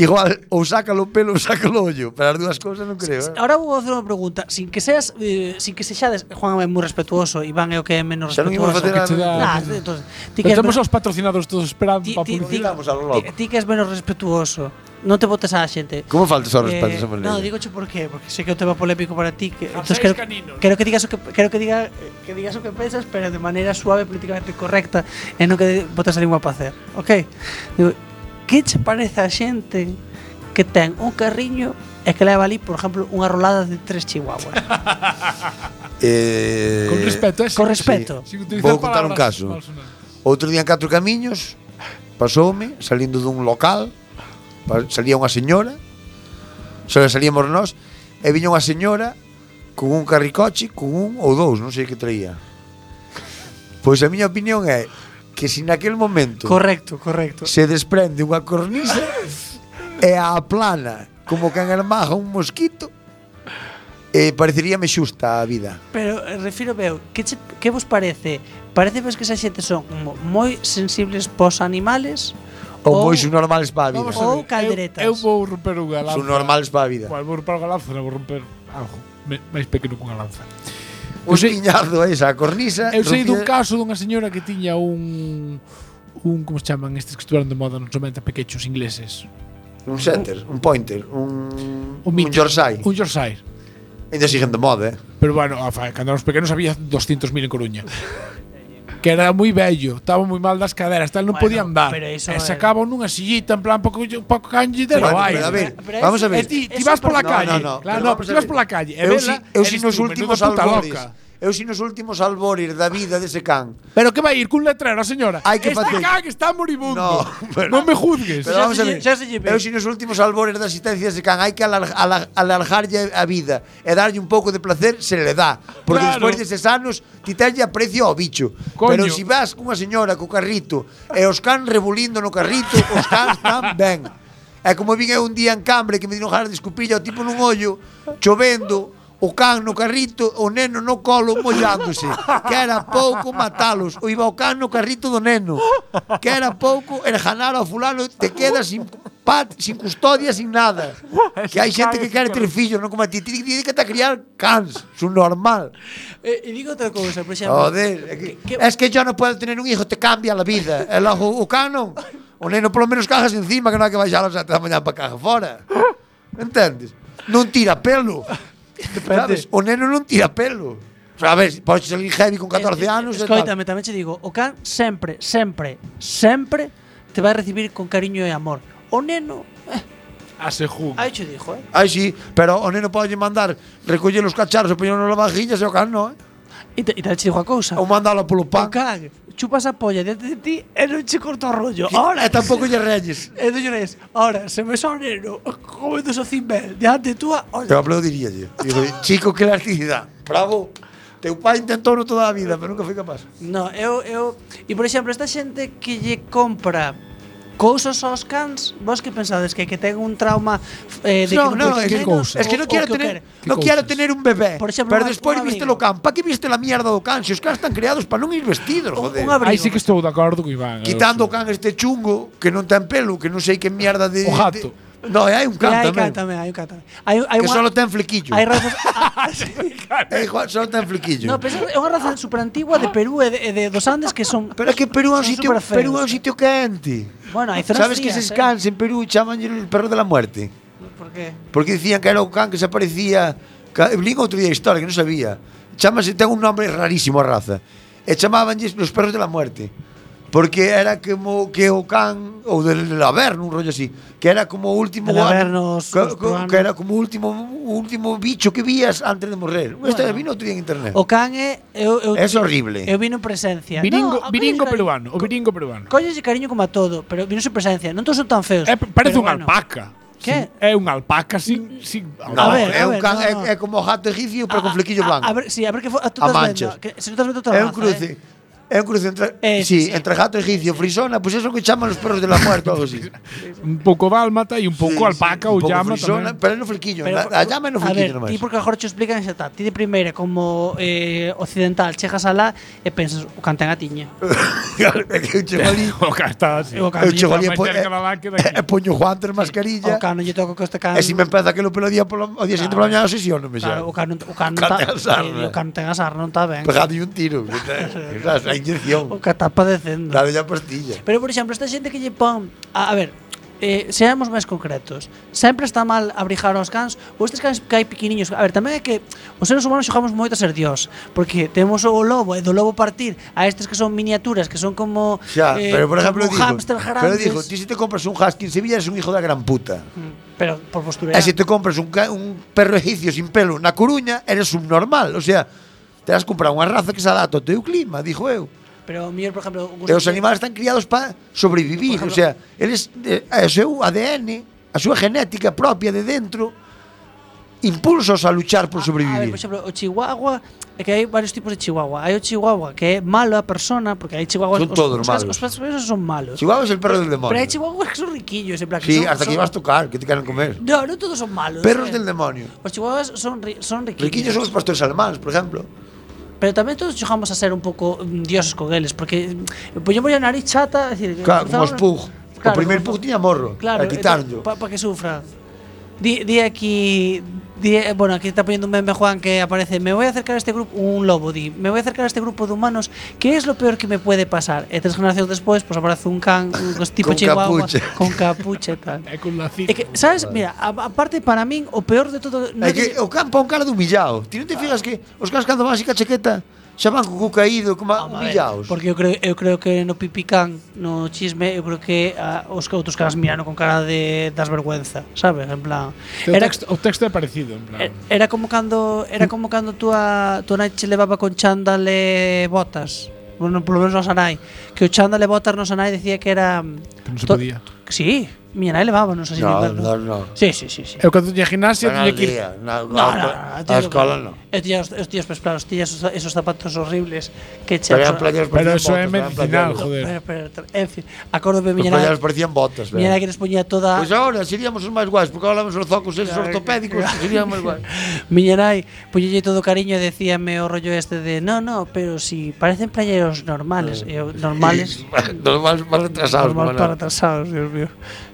E: Igual, ou sácalo o pelo ou sácalo o ollo Pero as dúas cousas non creo eh.
G: Ahora vou facer unha pregunta, sin que seas eh, sin que sexades, Juan é moi respetuoso, Iván é o que é menos
E: Xa non imos
G: respetuoso.
E: facer
H: que che
G: Nah,
E: a...
H: dá-
G: entonces, ti que és
H: Pero temos
G: menos-
H: aos patrocinadores todos esperando
G: ti-
H: para
G: ti- ti-
H: publicidade.
E: publicidade. Vamos a lo loco.
G: ti- ti que és menos respetuoso. Non te botes á xente.
E: Como faltas ao respeto
G: Eh,
E: esa maneira?
G: No, digoche por qué, porque sei que é un tema polémico para ti, que
H: Rapaces
G: entonces quero,
H: caninos.
G: quero que digas o que quero que diga que digas o que pensas, pero de maneira suave, políticamente correcta, e non que botas a lingua para hacer. OK. Digo, que che parece a xente que ten un carriño e que leva ali, por exemplo, unha rolada de tres chihuahuas?
E: Eh,
H: Con respeto, eh?
G: Con respeto.
H: Sin utilizar
E: Vou contar un
H: palabras
E: caso.
H: malsonantes.
E: Outro día en Catro Camiños Pasoume, salindo dun local pa- Salía unha señora Só salíamos nós E viña unha señora Con un carricoche, con un ou dous Non sei que traía Pois a miña opinión é Que se naquel momento
G: Correcto, correcto.
E: Se desprende unha cornisa E a plana Como que en el maja un mosquito eh, Pareceríame xusta a vida
G: Pero eh, refírome eu, que, che, que vos parece? Parece vos que esa xente son mo- moi sensibles pos animales
E: Ou
G: Ou-
E: moi subnormales para a vida
H: Oh. Vamos a
G: Ou
H: ver, eu-
G: calderetas.
H: Eu vou romper unha lanza.
E: Subnormales para a vida
H: Cual vou romper unha lanza, non vou romper algo me- máis pequeno que unha lanza.
E: Un piñazo esa, a cornisa.
H: Eu sei dun
E: rompida.
H: caso dunha señora que tiña un un como se chaman estes que estuveron de moda nos 90 pequechos ingleses.
E: Un setter, un pointer, un, un,
H: mito.
E: Yorkshire.
H: Un Yorkshire.
E: Ainda siguen de moda, eh?
H: Pero bueno, a fa- cando éramos pequenos había 200.000 en Coruña. que era moi bello, estaba moi mal das caderas, tal non
G: Bueno,
H: podía andar.
G: pero iso
H: e
G: é-
H: sacaban nunha sillita en plan pouco pouco canje de
E: Bueno,
H: vai.
E: pero a ver,
G: Pero
E: vamos
G: ese-
E: a ver.
H: E ti, ti
G: Eso
H: vas pola
G: perdón.
H: calle.
E: No, no, no,
H: claro,
E: pero
H: no,
E: vamos a
H: pero ti vas
E: ver.
H: pola calle. E
E: eu si,
H: vela,
E: eu si
H: eres
E: nos
H: tú,
E: últimos
H: menuda puta
E: albores.
H: loca.
E: Eu si nos últimos albores da vida dese can.
H: Pero que vai ir cun letrero, señora.
E: Hai que
H: Este
E: facer-
H: can está moribundo.
E: No, pero-
H: non me juzgues.
G: xa
E: Pero vamos
G: se
E: a
G: lle-
E: ver.
G: xa se lle ve.
E: Eu si nos últimos albores da existencia dese can hai que alar, alar, alargarlle a vida e darlle un pouco de placer, se le dá. Porque
H: Claro.
E: despois deses anos ti tenlle aprecio ao bicho.
H: Coño.
E: Pero si vas cunha señora co carrito e os can rebulindo no carrito, os cans están ben. É como vin eu un día en Cambre que me dino ganas de escupilla o tipo nun ollo, chovendo, o can no carrito, o neno no colo mollándose. Que era pouco matalos. O iba o can no carrito do neno. Que era pouco erjanar ao fulano te quedas sin pat, sin custodia, sin nada. Que hai xente que quere ter fillos, non como a ti. Ti ti- ti que te criar cans, son normal.
G: E, e digo outra cousa, por exemplo,
E: Joder, é que, es que yo no puedo tener un hijo, te cambia la vida. El ojo, o canon, o neno polo menos cajas encima que non hai que baixar aos 7 da mañá para caja fora. Entendes? Non tira pelo. Sabes? O neno non tira pelo. Sabes, podes salir heavy con 14 anos e tal.
G: Escoítame, Eh, tamén che digo, o can sempre, sempre, sempre te vai recibir con cariño e amor. O neno, eh,
H: A se juzga.
G: aí che dixo, eh.
E: Ai si, pero o neno pode mandar recoller os cacharros e poñer na vajilla se o can non, eh?
G: E te, e te che digo a cousa.
E: Ou mandalo
G: O
E: polo pan.
G: can chupas a polla diante de ti e non che corta o rollo.
E: Ora,
G: Ahora,
E: e tampouco lle reyes.
G: E non llores. Ahora, se me só o neno comendo o cimbel diante túa,
E: Eu
G: olha,
E: aplaudiría lle. Digo, chico, que elasticidade. Bravo. Teu pai intentou no toda a vida, pero nunca foi capaz.
G: No, eu, eu... E, por exemplo, esta xente que lle compra cousas aos cans, vos que pensades que que ten un trauma f- eh, de
E: No,
G: que non
E: no,
G: ten
E: es que,
G: nenos,
E: es que
G: o- o
E: no quiero
G: que o
E: tener,
G: quere.
E: no quiero tener un bebé.
G: Por ejemplo,
E: pero
G: un-
E: después
G: un
E: viste
G: abrigo.
E: lo can. ¿Para qué viste la mierda do can? Si os cans están criados para non ir vestidos,
G: Un-
E: joder.
G: un abrigo.
H: Aí sí que estou de acordo con Iván. eu
E: Quitando o
H: sou-
E: can este chungo que non ten pelo, que non sei que mierda de
H: O gato.
E: de- No, e hai un can
G: Hai un
E: tamén.
G: cántame, hai un cántame. Hai, hai
E: Que
G: unha-
E: solo ten flequillo.
G: Hai razas... Ah,
E: Eh, Juan, solo ten flequillo.
G: no, pero esa é unha raza superantigua de Perú e de, e de dos Andes que son...
E: Pero é que Perú é un
G: son
E: sitio,
G: superfeos.
E: Perú é un sitio quente.
G: Bueno, hai zonas
E: Sabes que
G: frías,
E: se
G: eh?
E: cans en Perú chaman el perro de la muerte.
G: Por qué?
E: Porque dicían que era un can que se aparecía ca- Lín outro día a historia que non sabía Chamase, ten un nome rarísimo a raza E chamabanlles los perros de la muerte Porque era como que o can Ou del averno, un rollo así Que era como o último
G: Del
E: an-
G: Averno, os-
E: que,
G: os
E: que,
G: peruanos.
E: que era como o último o último bicho que vías antes de morrer Bueno, Esta
G: Bueno.
E: vino outro día en internet
G: O Eh, can é... Eu, eu,
E: Es horrible
G: eu vino en presencia. No,
H: Viringo,
G: ah, a
H: viringo
G: colle cari-
H: peruano, o viringo peruano.
G: Colleslle cariño como a todo, pero vino en presencia. Non todos son tan feos.
E: Eh,
H: É, parece
G: pero
H: unha alpaca.
G: Que?
H: Sin- É unha alpaca sin... sin
G: A
E: No,
G: ver, a
E: é un
G: ver,
E: can,
G: no,
E: é,
G: no.
E: é como o jato egipcio pero con flequillo
G: Ah, a-
E: blanco
G: A, ver, sí, a ver que fo- a, tú
E: A
G: estás
E: manchas.
G: vendo, que se non estás vendo outra raza,
E: É un cruce.
G: Eh.
E: É un cruce entre,
G: Eh,
E: sí,
G: sí, sí.
E: entre gato egipcio, frisona, pois pues eso que chaman os perros de la muerte ou algo así.
H: Un pouco dálmata e un pouco alpaca ou llama
E: frisona,
H: tamén.
E: pero é no flequillo,
G: Pero,
E: na- a llama é no
G: a ver,
E: flequillo nomás.
G: ti porque agora te explican esa tal. Ti de primeira como eh, occidental chegas alá e pensas o can ten a tiña.
E: Claro, é que eu chego ali,
H: O cara está así.
G: Eu ca-
E: eu chego ali e
H: máis
E: po- e-
H: cerca da lá que
E: e-
H: daqui.
E: e poño Juan
G: O
E: ter mascarilla,
G: can non lle toca con este can.
E: e se me empeza aquilo pelo día polo, o día seguinte pola mañana sesionome xa.
G: Claro, o can, non- o can,
E: O can
G: non
E: ten a
G: ta,
E: sarna.
G: eh, o can ten a sarna, non está ben.
E: Pegado un tiro, que te- que sabes, a
G: O
E: inyección,
G: can está padecendo.
E: dale a pastilla.
G: Pero, por exemplo, esta xente que lle pon... A, a ver, eh, seamos máis concretos. Sempre está mal abrijar aos cans ou estes cans que hai pequeniños. A ver, tamén é que os seres humanos xogamos moito a ser dios, porque temos o lobo e do lobo partir a estes que son miniaturas, que son como
E: Xa, pero por exemplo
G: como
E: digo,
G: Eh, hámster
E: pero
G: grandes.
E: digo, ti se te compras un husky en Sevilla eres un hijo da gran puta.
G: Mm, pero por postura.
E: E se te compras un, ca- un perro egipcio sin pelo na Coruña, eres un normal. O sea, terás comprar unha raza que se adapta ao teu clima, dixo eu.
G: Pero o mellor, por exemplo,
E: E os animales están criados para sobrevivir.
G: Por
E: O sea, eles, eh, o seu ADN, a súa genética propia de dentro, impulsos a luchar por
G: Ah, A ver,
E: sobrevivir.
G: por exemplo, o chihuahua É que hai varios tipos de chihuahua Hai o chihuahua que é malo a persona Porque hai chihuahuas
E: Son todos
G: os, cas-
E: malos.
G: Os pasos son malos
E: Chihuahua es el perro del demonio.
G: Pero hay chihuahuas que son riquillos, en plan.
E: Sí,
G: son-
E: hasta
G: son-
E: que ibas a tocar, que te queran comer.
G: No, no todos son malos.
E: Perros
G: eh.
E: del demonio.
G: Los chihuahuas son, ri- son riquillos.
E: Riquillos son os pastores alemanes, por exemplo.
G: Pero también todos llegamos a ser un poco mm, dioses con eles, porque mm, poñemos a nariz chata, es decir,
E: Claro, como os
G: cruzamos-
E: Pug. o
G: Claro,
E: primeiro
G: como-
E: Pug tiña morro.
G: Claro,
E: Claro, a quitarlo.
G: Para que sufra. Di, di aquí. di- eh, bueno, aquí está poniendo un meme Juan que aparece. Me voy a acercar a este grupo. Un lobo, di. Me voy a acercar a este grupo de humanos. ¿Qué es lo peor que me puede pasar? E tres generaciones después, pues aparece un can, un tipo
E: Con
G: chihuahua.
E: capucha.
G: Con capucha y tal.
H: É con lacito.
G: É que, sabes, mira, a- aparte para min o peor de todo non
E: É que o can pon cara de humillado. Ti non te fijas que os cans cando van así ca chaqueta xa van co cu caído, como humillados.
G: Porque eu creo, eu creo que no pipicán, no chisme, eu creo que a, os que outros caras mirano con cara de das vergüenza, sabes? En plan,
H: o,
G: era
H: texto, o texto é parecido, en plan.
G: e- era como cando era como cando tú a tú nai che levaba con chándal e botas. Bueno, polo menos no sanai, que o chándal e botas no sanai decía que era
H: Pero non se
G: to-
H: podía.
G: que Sí, miña nai levaba, non sei se
E: No,
G: inverno.
E: no, no.
G: Sí, sí, sí, sí.
H: Eu cando tiña gimnasia
E: Van
H: tiña
E: al
H: que ir
E: día, na-
G: No, no, no,
E: a
G: tío,
E: escola non.
G: Eu tiña os, os tíos pues, claro, os tiña esos, esos zapatos horribles que che
E: Pero eran playeros
H: Pero
E: parecían
H: eso
E: botas,
H: é
E: eran
H: medicinal,
E: playeros.
H: joder.
G: Pero, pero, tra- en fin, acórdome
E: Os
G: miña nai,
E: playeros parecían botas,
G: miña nai
E: velho.
G: que nos poñía toda
E: Pois agora seríamos os máis guais, porque hablamos os zocos esos ortopédicos, serían máis guais.
G: Miña nai puñelle todo cariño e decíame o rollo este de No, no, pero si parecen playeros normales e eu, Normales
E: Dos máis máis retrasados,
G: Normal para Eh,
E: como
G: atrasados, Dios mío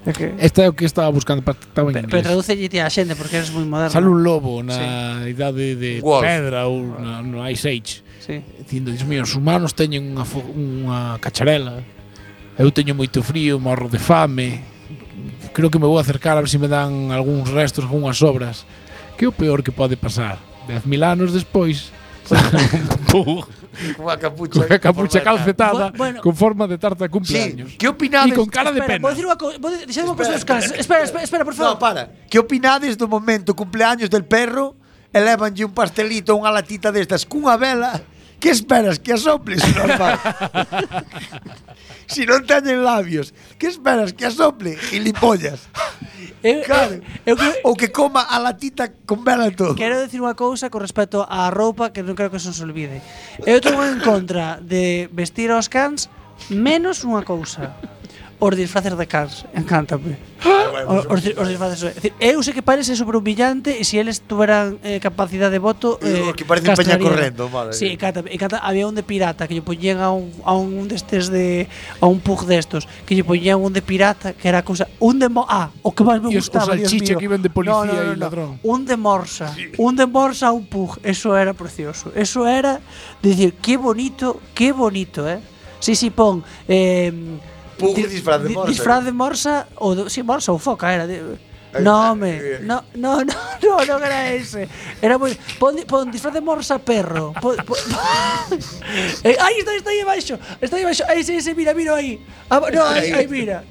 G: é que...
H: Esta Este é o que estaba buscando para estaba en
G: Pero, pero
H: inglés.
G: traduce a xente porque eres moi moderno
H: Sale un lobo na idade de
E: Wolf.
H: pedra ou na, no Ice Age
G: sí.
H: dicindo, Dios mío, os humanos teñen unha, fo- unha cacharela eu teño moito frío, morro de fame creo que me vou acercar a ver se me dan algúns restos, algunhas sobras que é o peor que pode pasar? Dez mil anos despois Pug,
E: Unha capucha.
H: con a capucha calcetada
G: Bu- bueno.
H: con forma de tarta de
E: Sí,
H: cumpleaños
E: que
H: e
E: opinades?
H: con cara de
G: Espera, vou
H: pena
G: dicir unha cousa Deixadme unha cousa dos caras Espera, espera, espera, por favor
E: No, para. Que opinades do momento cumpleaños del perro? Elevanlle un pastelito ou unha latita destas cunha vela. Que esperas que asoples, normal? si non teñen labios, que esperas que asople, gilipollas?
G: eu,
E: Claro.
G: Eh, eu, eu, creo-
E: Ou que coma a latita con vela e todo.
G: Quero decir unha cousa con respecto á roupa que non creo que se nos olvide. Eu estou en contra de vestir aos cans menos unha cousa. os disfraces de Cars, encántame. pues.
E: Ah, pues
G: Os, os, dis- os disfraces. É dicir, eu sei que parece sobre un brillante e se eles tuveran eh, capacidade de voto
E: Eh,
G: eh,
E: que parece un peña
G: castrarían.
E: correndo, vale.
G: Sí, encántame, encántame. Había un de pirata que lle poñían a un, a un destes de a un pug destos, que lle poñían un de pirata que era cousa un de mo ah, o que máis me
H: E os-
G: gustaba,
H: os
G: Dios
H: salchicha
G: mío.
H: que iban de
G: no,
H: policía
G: no, no, no.
H: e ladrón.
G: Un de morsa, un de morsa a un pug, eso era precioso. Eso era decir, qué bonito, qué bonito, ¿eh? Sí, sí, pon eh,
E: Pug
G: di-
E: disfraz de
G: di-
E: morsa.
G: Disfraz de morsa o do- sí, morsa ou foca era. de- no, home, no, no, no, no, non era ese. Era moi pon, di- pon disfraz de morsa perro. Pon, pon, Eh, aí está, está aí abaixo. Está aí abaixo. Aí ese, ese, mira, mira aí. Ah, no, aí, aí mira.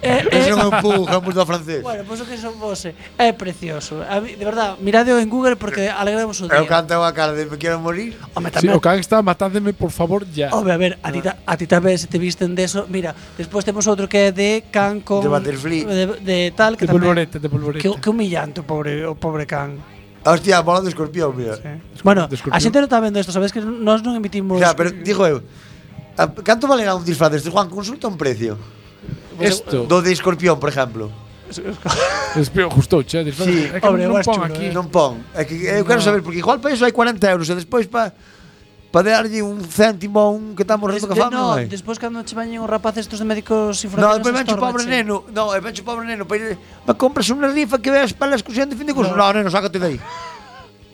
G: Eh,
E: Ese
G: eh,
E: non é un pug, é un bulldog francés.
G: Bueno, pois o que son vose É precioso A mí, De verdad, miradeo en Google Porque alegramos o
E: Eu
G: día
E: canto a cara de me quero morir.
G: Home,
H: Sí,
G: tamén
H: o can está, matádeme, por favor, ya.
G: Home, a ver, a ti, ta, a ti tamén se te visten de eso Mira, despois temos outro que é de can con
E: De Butterfly.
G: De, de tal que
H: de
G: tamén
H: polvoreta, de
G: Que,
H: polvoreta.
G: que humillante o pobre, o pobre can
E: Hostia, bola do escorpión, mira.
G: eh. Bueno,
H: Desculpe.
G: a xente non está vendo isto Sabes que nós non emitimos
E: Mira, pero digo eu, a- canto valerá un disfraz deste? Juan, consulta un precio.
H: Esto.
E: Do de escorpión, por exemplo.
H: Espero, justo, che. disfraz-
E: Sí,
H: é que
G: hombre,
H: non
G: guas
H: pon
G: chulo,
H: aquí.
G: eh.
E: Non pon. É que eu quero saber, porque igual para iso hai 40 euros e despois para pa darlle un céntimo a un que está
G: Des,
E: morrendo
G: de,
E: que fama,
G: no,
E: non hai.
G: despois cando che bañen os rapaces estos de médicos sin
E: No,
G: fronteras
E: despois vencho
G: estorbache.
E: pobre neno. No, e vencho pobre neno. Para ir, me compras unha rifa que veas para a excursión de fin de curso. No, neno, sácate de aí.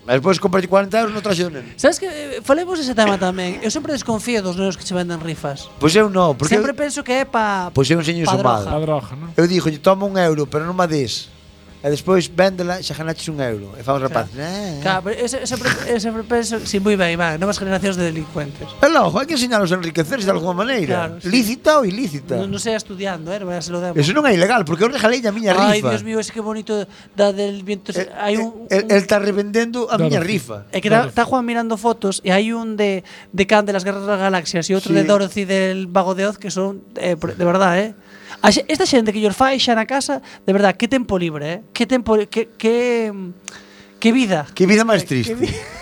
E: E despois comprarlle 40 euros no traxe do neno.
G: Sabes que eh, falemos ese tema tamén Eu sempre desconfío dos nenos que che venden rifas
E: Pois eu non, porque
G: Sempre
E: eu,
G: penso que é pa
E: pois eu enseño
G: pa
E: iso
G: droga.
E: mal.
H: A droga, ¿no?
E: Eu dixo, toma un euro, pero non me des. E despois véndela e xa ganaches un "Eh, euro. E fan os rapaces. Nah.
G: Claro, pero eu, se- eu sempre, eu sempre penso Si, sí, moi ben, Iván, novas generacións de delincuentes
E: E logo, hai que enseñalos a enriquecerse de alguma maneira.
G: Claro, sí.
E: Lícita ou ilícita.
G: Non, non sei estudiando, eh, non se lo demo
E: Eso non é ilegal, porque eu regalei a miña
G: Ai,
E: rifa. Eh,
G: Dios mío, ese que bonito da del viento se- Hai un,
E: El, el
G: un
E: está revendendo a
H: Claro,
E: miña
H: sí.
E: rifa.
G: É que está Juan mirando fotos e hai un de, de Khan de las Guerras de las Galaxias e outro
E: Sí.
G: de Dorothy del Vago de Oz que son, eh, por- de verdad, eh? A xe- Esta xente que llos fai xa na casa, de verdad, que tempo libre, eh? Que tempo, que, que, que vida.
E: Que vida máis triste.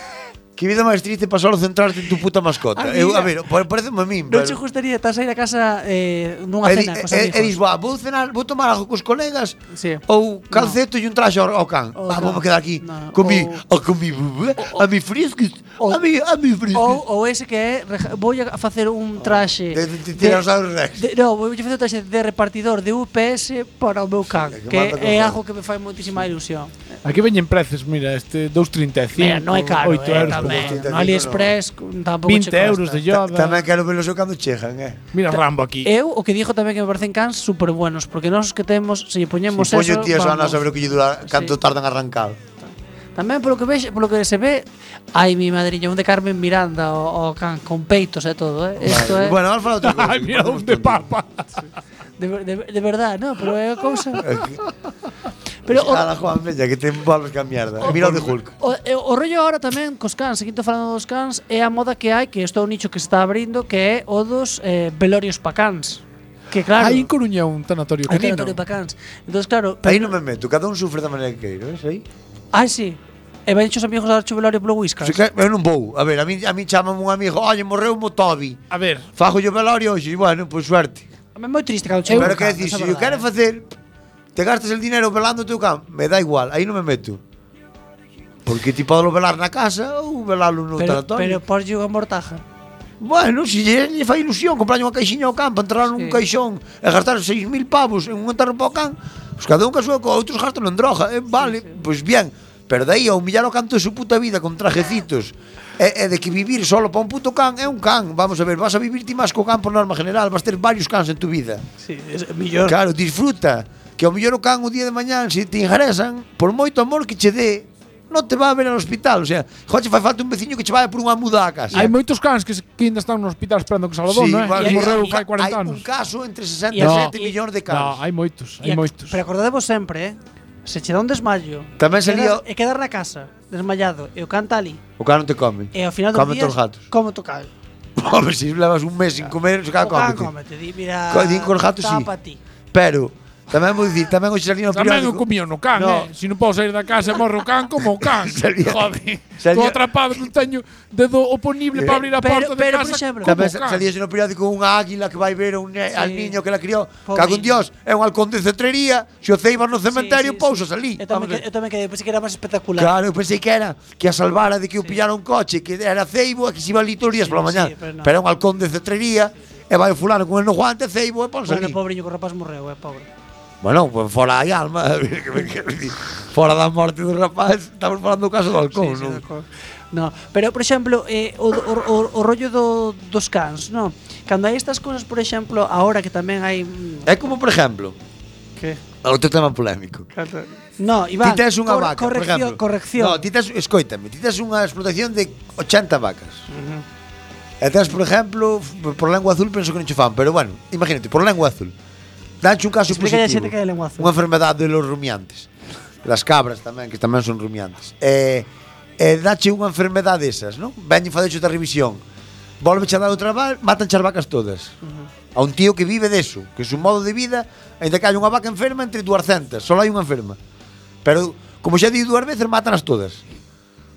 E: Que vida máis triste para solo centrarte en tu puta mascota.
G: A
E: eu, a ver,
G: vida.
E: parece a min,
G: Non
E: pero...
G: che gustaría estás aí na casa eh, nunha
E: e, di-
G: cena,
E: e, Oh,
G: cos amigos.
E: e dis, "Buah, vou cenar, vou tomar algo cos colegas
G: Sí.
E: ou calceto e un traxe ao, ao can.
G: Ou
E: ah,
G: no.
E: vou quedar aquí
G: No,
E: con mi,
G: ou-
E: a con mi bebé, a mi frisques, a mi, a mi
G: Ou,
E: frisques.
G: ou ese que é, reja- vou a facer un traxe
E: Oh, de- de Tyrannosaurus Rex.
G: de- no, vou facer un traxe de repartidor de UPS para o meu can,
E: que
G: que,
E: manda con
G: é
E: fan.
G: algo que me fai moitísima ilusión.
H: Aquí veñen prezos, mira, este 2.35.
G: Mira, non é caro,
H: 8
G: eh,
H: euros.
G: tamén.
H: por-
G: No AliExpress tampouco che
H: 20
G: costa.
H: euros de Yoda.
E: Tamén quero verlos eu cando chegan, eh.
H: Mira Rambo aquí.
G: Eu o que dixo tamén que me parecen cans super buenos, porque nós que temos, se lle poñemos
E: Si poño
G: eso,
E: tías a
G: vamos.
E: saber o que lle dura,
G: Sí.
E: canto tardan a arrancar.
G: Tamén polo que vexe, polo que se ve, hai mi madriña, un de Carmen Miranda o, o can con peitos e todo, eh. Isto é
E: Bueno, vamos falar outra cousa.
H: Ai, mira un de papa.
G: de, ver- de, de verdad, no, pero é a cousa.
E: Pero
G: Pero o,
E: Ala, Juan, veña, que te envolves ca mierda. Mira o de Hulk.
G: O, e- o rollo agora tamén cos cans, seguindo falando dos cans, é a moda que hai, que isto é un nicho que se está abrindo, que é o dos eh, velorios pa cans. Que claro,
H: Hai en Coruña un tanatorio
G: hai
H: canino.
G: velorios pa cans. Entón, claro,
E: Aí non me meto, cada un sufre da maneira que ¿eh? queiro, ves aí?
G: ai sí, e ben os amigos a dar o velorio polo Whiskas.
E: Se que, eu non vou. A ver, a min, a min chamame un amigo, "Olle, morreu mo Toby."
H: A ver,
E: Fajo yo velorio hoxe, e bueno, pois suerte.
G: A mí é moi triste cando chego ao
E: Pero
G: can,
E: que decir,
G: esa é
E: se eu
G: verdade.
E: quero facer te gastas el dinero velando o teu can, me dá igual, aí non me meto. Porque ti podelo velar na casa ou velalo no
G: pero, pero
E: tanatorio.
G: porlle unha mortaja.
E: Bueno, se lle, lle fai ilusión comprarlle unha caixinha ao can para entrar
G: Sí.
E: nun caixón e gastar 6.000 pavos en un enterro para o can, pois cada un que a súa co, outros gastan en droga, eh, vale, pois bien. Pero daí a humillar o canto de su puta vida con trajecitos e, e de que vivir solo para un puto can é un can. Vamos a ver, vas a vivir ti máis co can por norma general, vas ter varios cans en tu vida.
G: Sí, é mellor.
E: Claro, disfruta Que ao mellor o can o día de mañán Se te ingresan, por moito amor que che dé Non te va a ver ao hospital O sea, joche fai falta un veciño que che vaya por unha muda a casa
H: hai moitos cans que, se- que ainda están no hospital esperando que salga
E: Sí,
H: dono, eh?
E: vale.
H: Que morreu
E: Hai-
H: fai
E: hai
H: 40 anos.
E: un caso entre 60 e
G: No.
E: 70 millóns de
H: No,
E: casos
H: hai moitos,
G: E
H: hai
G: ac-
H: moitos.
G: Pero acordadevos sempre, eh? Se che dá un desmayo,
E: Tamén sería-
G: quedar- e quedar na casa, desmayado, e o canta ali,
E: O can non te come
G: e ao final do
E: Come
G: día,
E: os gatos
G: como tocar.
E: Hombre, se levas un mes sin comer Se
G: O
E: can
G: can
E: come
G: cómete, di, mira,
E: Co- din cos gatos, sí.
G: tapa ti.
E: Pero Tamén vou dicir, tamén o xalino
H: Tamén eu
E: periódico.
H: comía no can,
E: No.
H: no. eh. Se non podo sair da casa, morro o can como o can.
E: Salía-
H: Joder.
E: salía- Eh,
H: Estou atrapado, non teño dedo oponible para abrir a
G: Pero-
H: porta
G: pero,
H: de
G: por
H: casa.
G: exemplo-
H: como
E: Tamén
H: o can.
E: salíase no periódico unha águila que vai ver a un, ne-
G: Sí.
E: al niño que la criou.
G: Pobre
E: Cago en
G: niño.
E: Dios, é un halcón de cetrería, se o ceiban no cementerio, pousas ali.
G: Eu tamén,
E: Vamos a ver.
G: que, eu tamén quedei, pensei que era máis espectacular.
E: Claro, eu pensei que era que a salvara de que o pillara un coche, que era ceibo e que se iba ali todos os días
G: Sí,
E: pola mañá.
G: sí, pero
E: pero,
G: no.
E: é un halcón de cetrería, e vai o fulano con el no guante ceibo e ponse
G: Bueno,
E: ali.
G: pobreño, que o rapaz morreu, é eh, pobre.
E: Bueno, pues fora hai alma, fora da morte do rapaz, estamos falando do caso do halcón,
G: sí,
E: non?
G: de acordo. No, pero por exemplo, eh, o, o, o, o rollo do, dos cans, no? Cando hai estas cousas, por exemplo, ahora que tamén hai mm,
E: É como, por exemplo,
G: que
E: outro tema polémico.
G: No, Iván,
E: Ti tes unha
G: cor-
E: vaca,
G: corrección,
E: por exemplo.
G: corrección.
E: No, ti tes, escoítame, ti tes unha explotación de 80 vacas. E tes, por exemplo, f- por lengua azul penso que non che fan, pero bueno, imagínate, por lengua azul. Danche un caso
G: Explícalle a
E: positivo.
G: xente que é lengua azul.
E: Unha enfermedade de los rumiantes. Las cabras tamén, que tamén son rumiantes. E, e dache unha enfermedade esas, non? Veñen fadecho da revisión. Volve a dar o traballo, matan as vacas todas. A un tío que vive deso, que su modo de vida, ainda que hai unha vaca enferma entre 200, só hai unha enferma. Pero, como xa digo dúas veces, mátanas todas.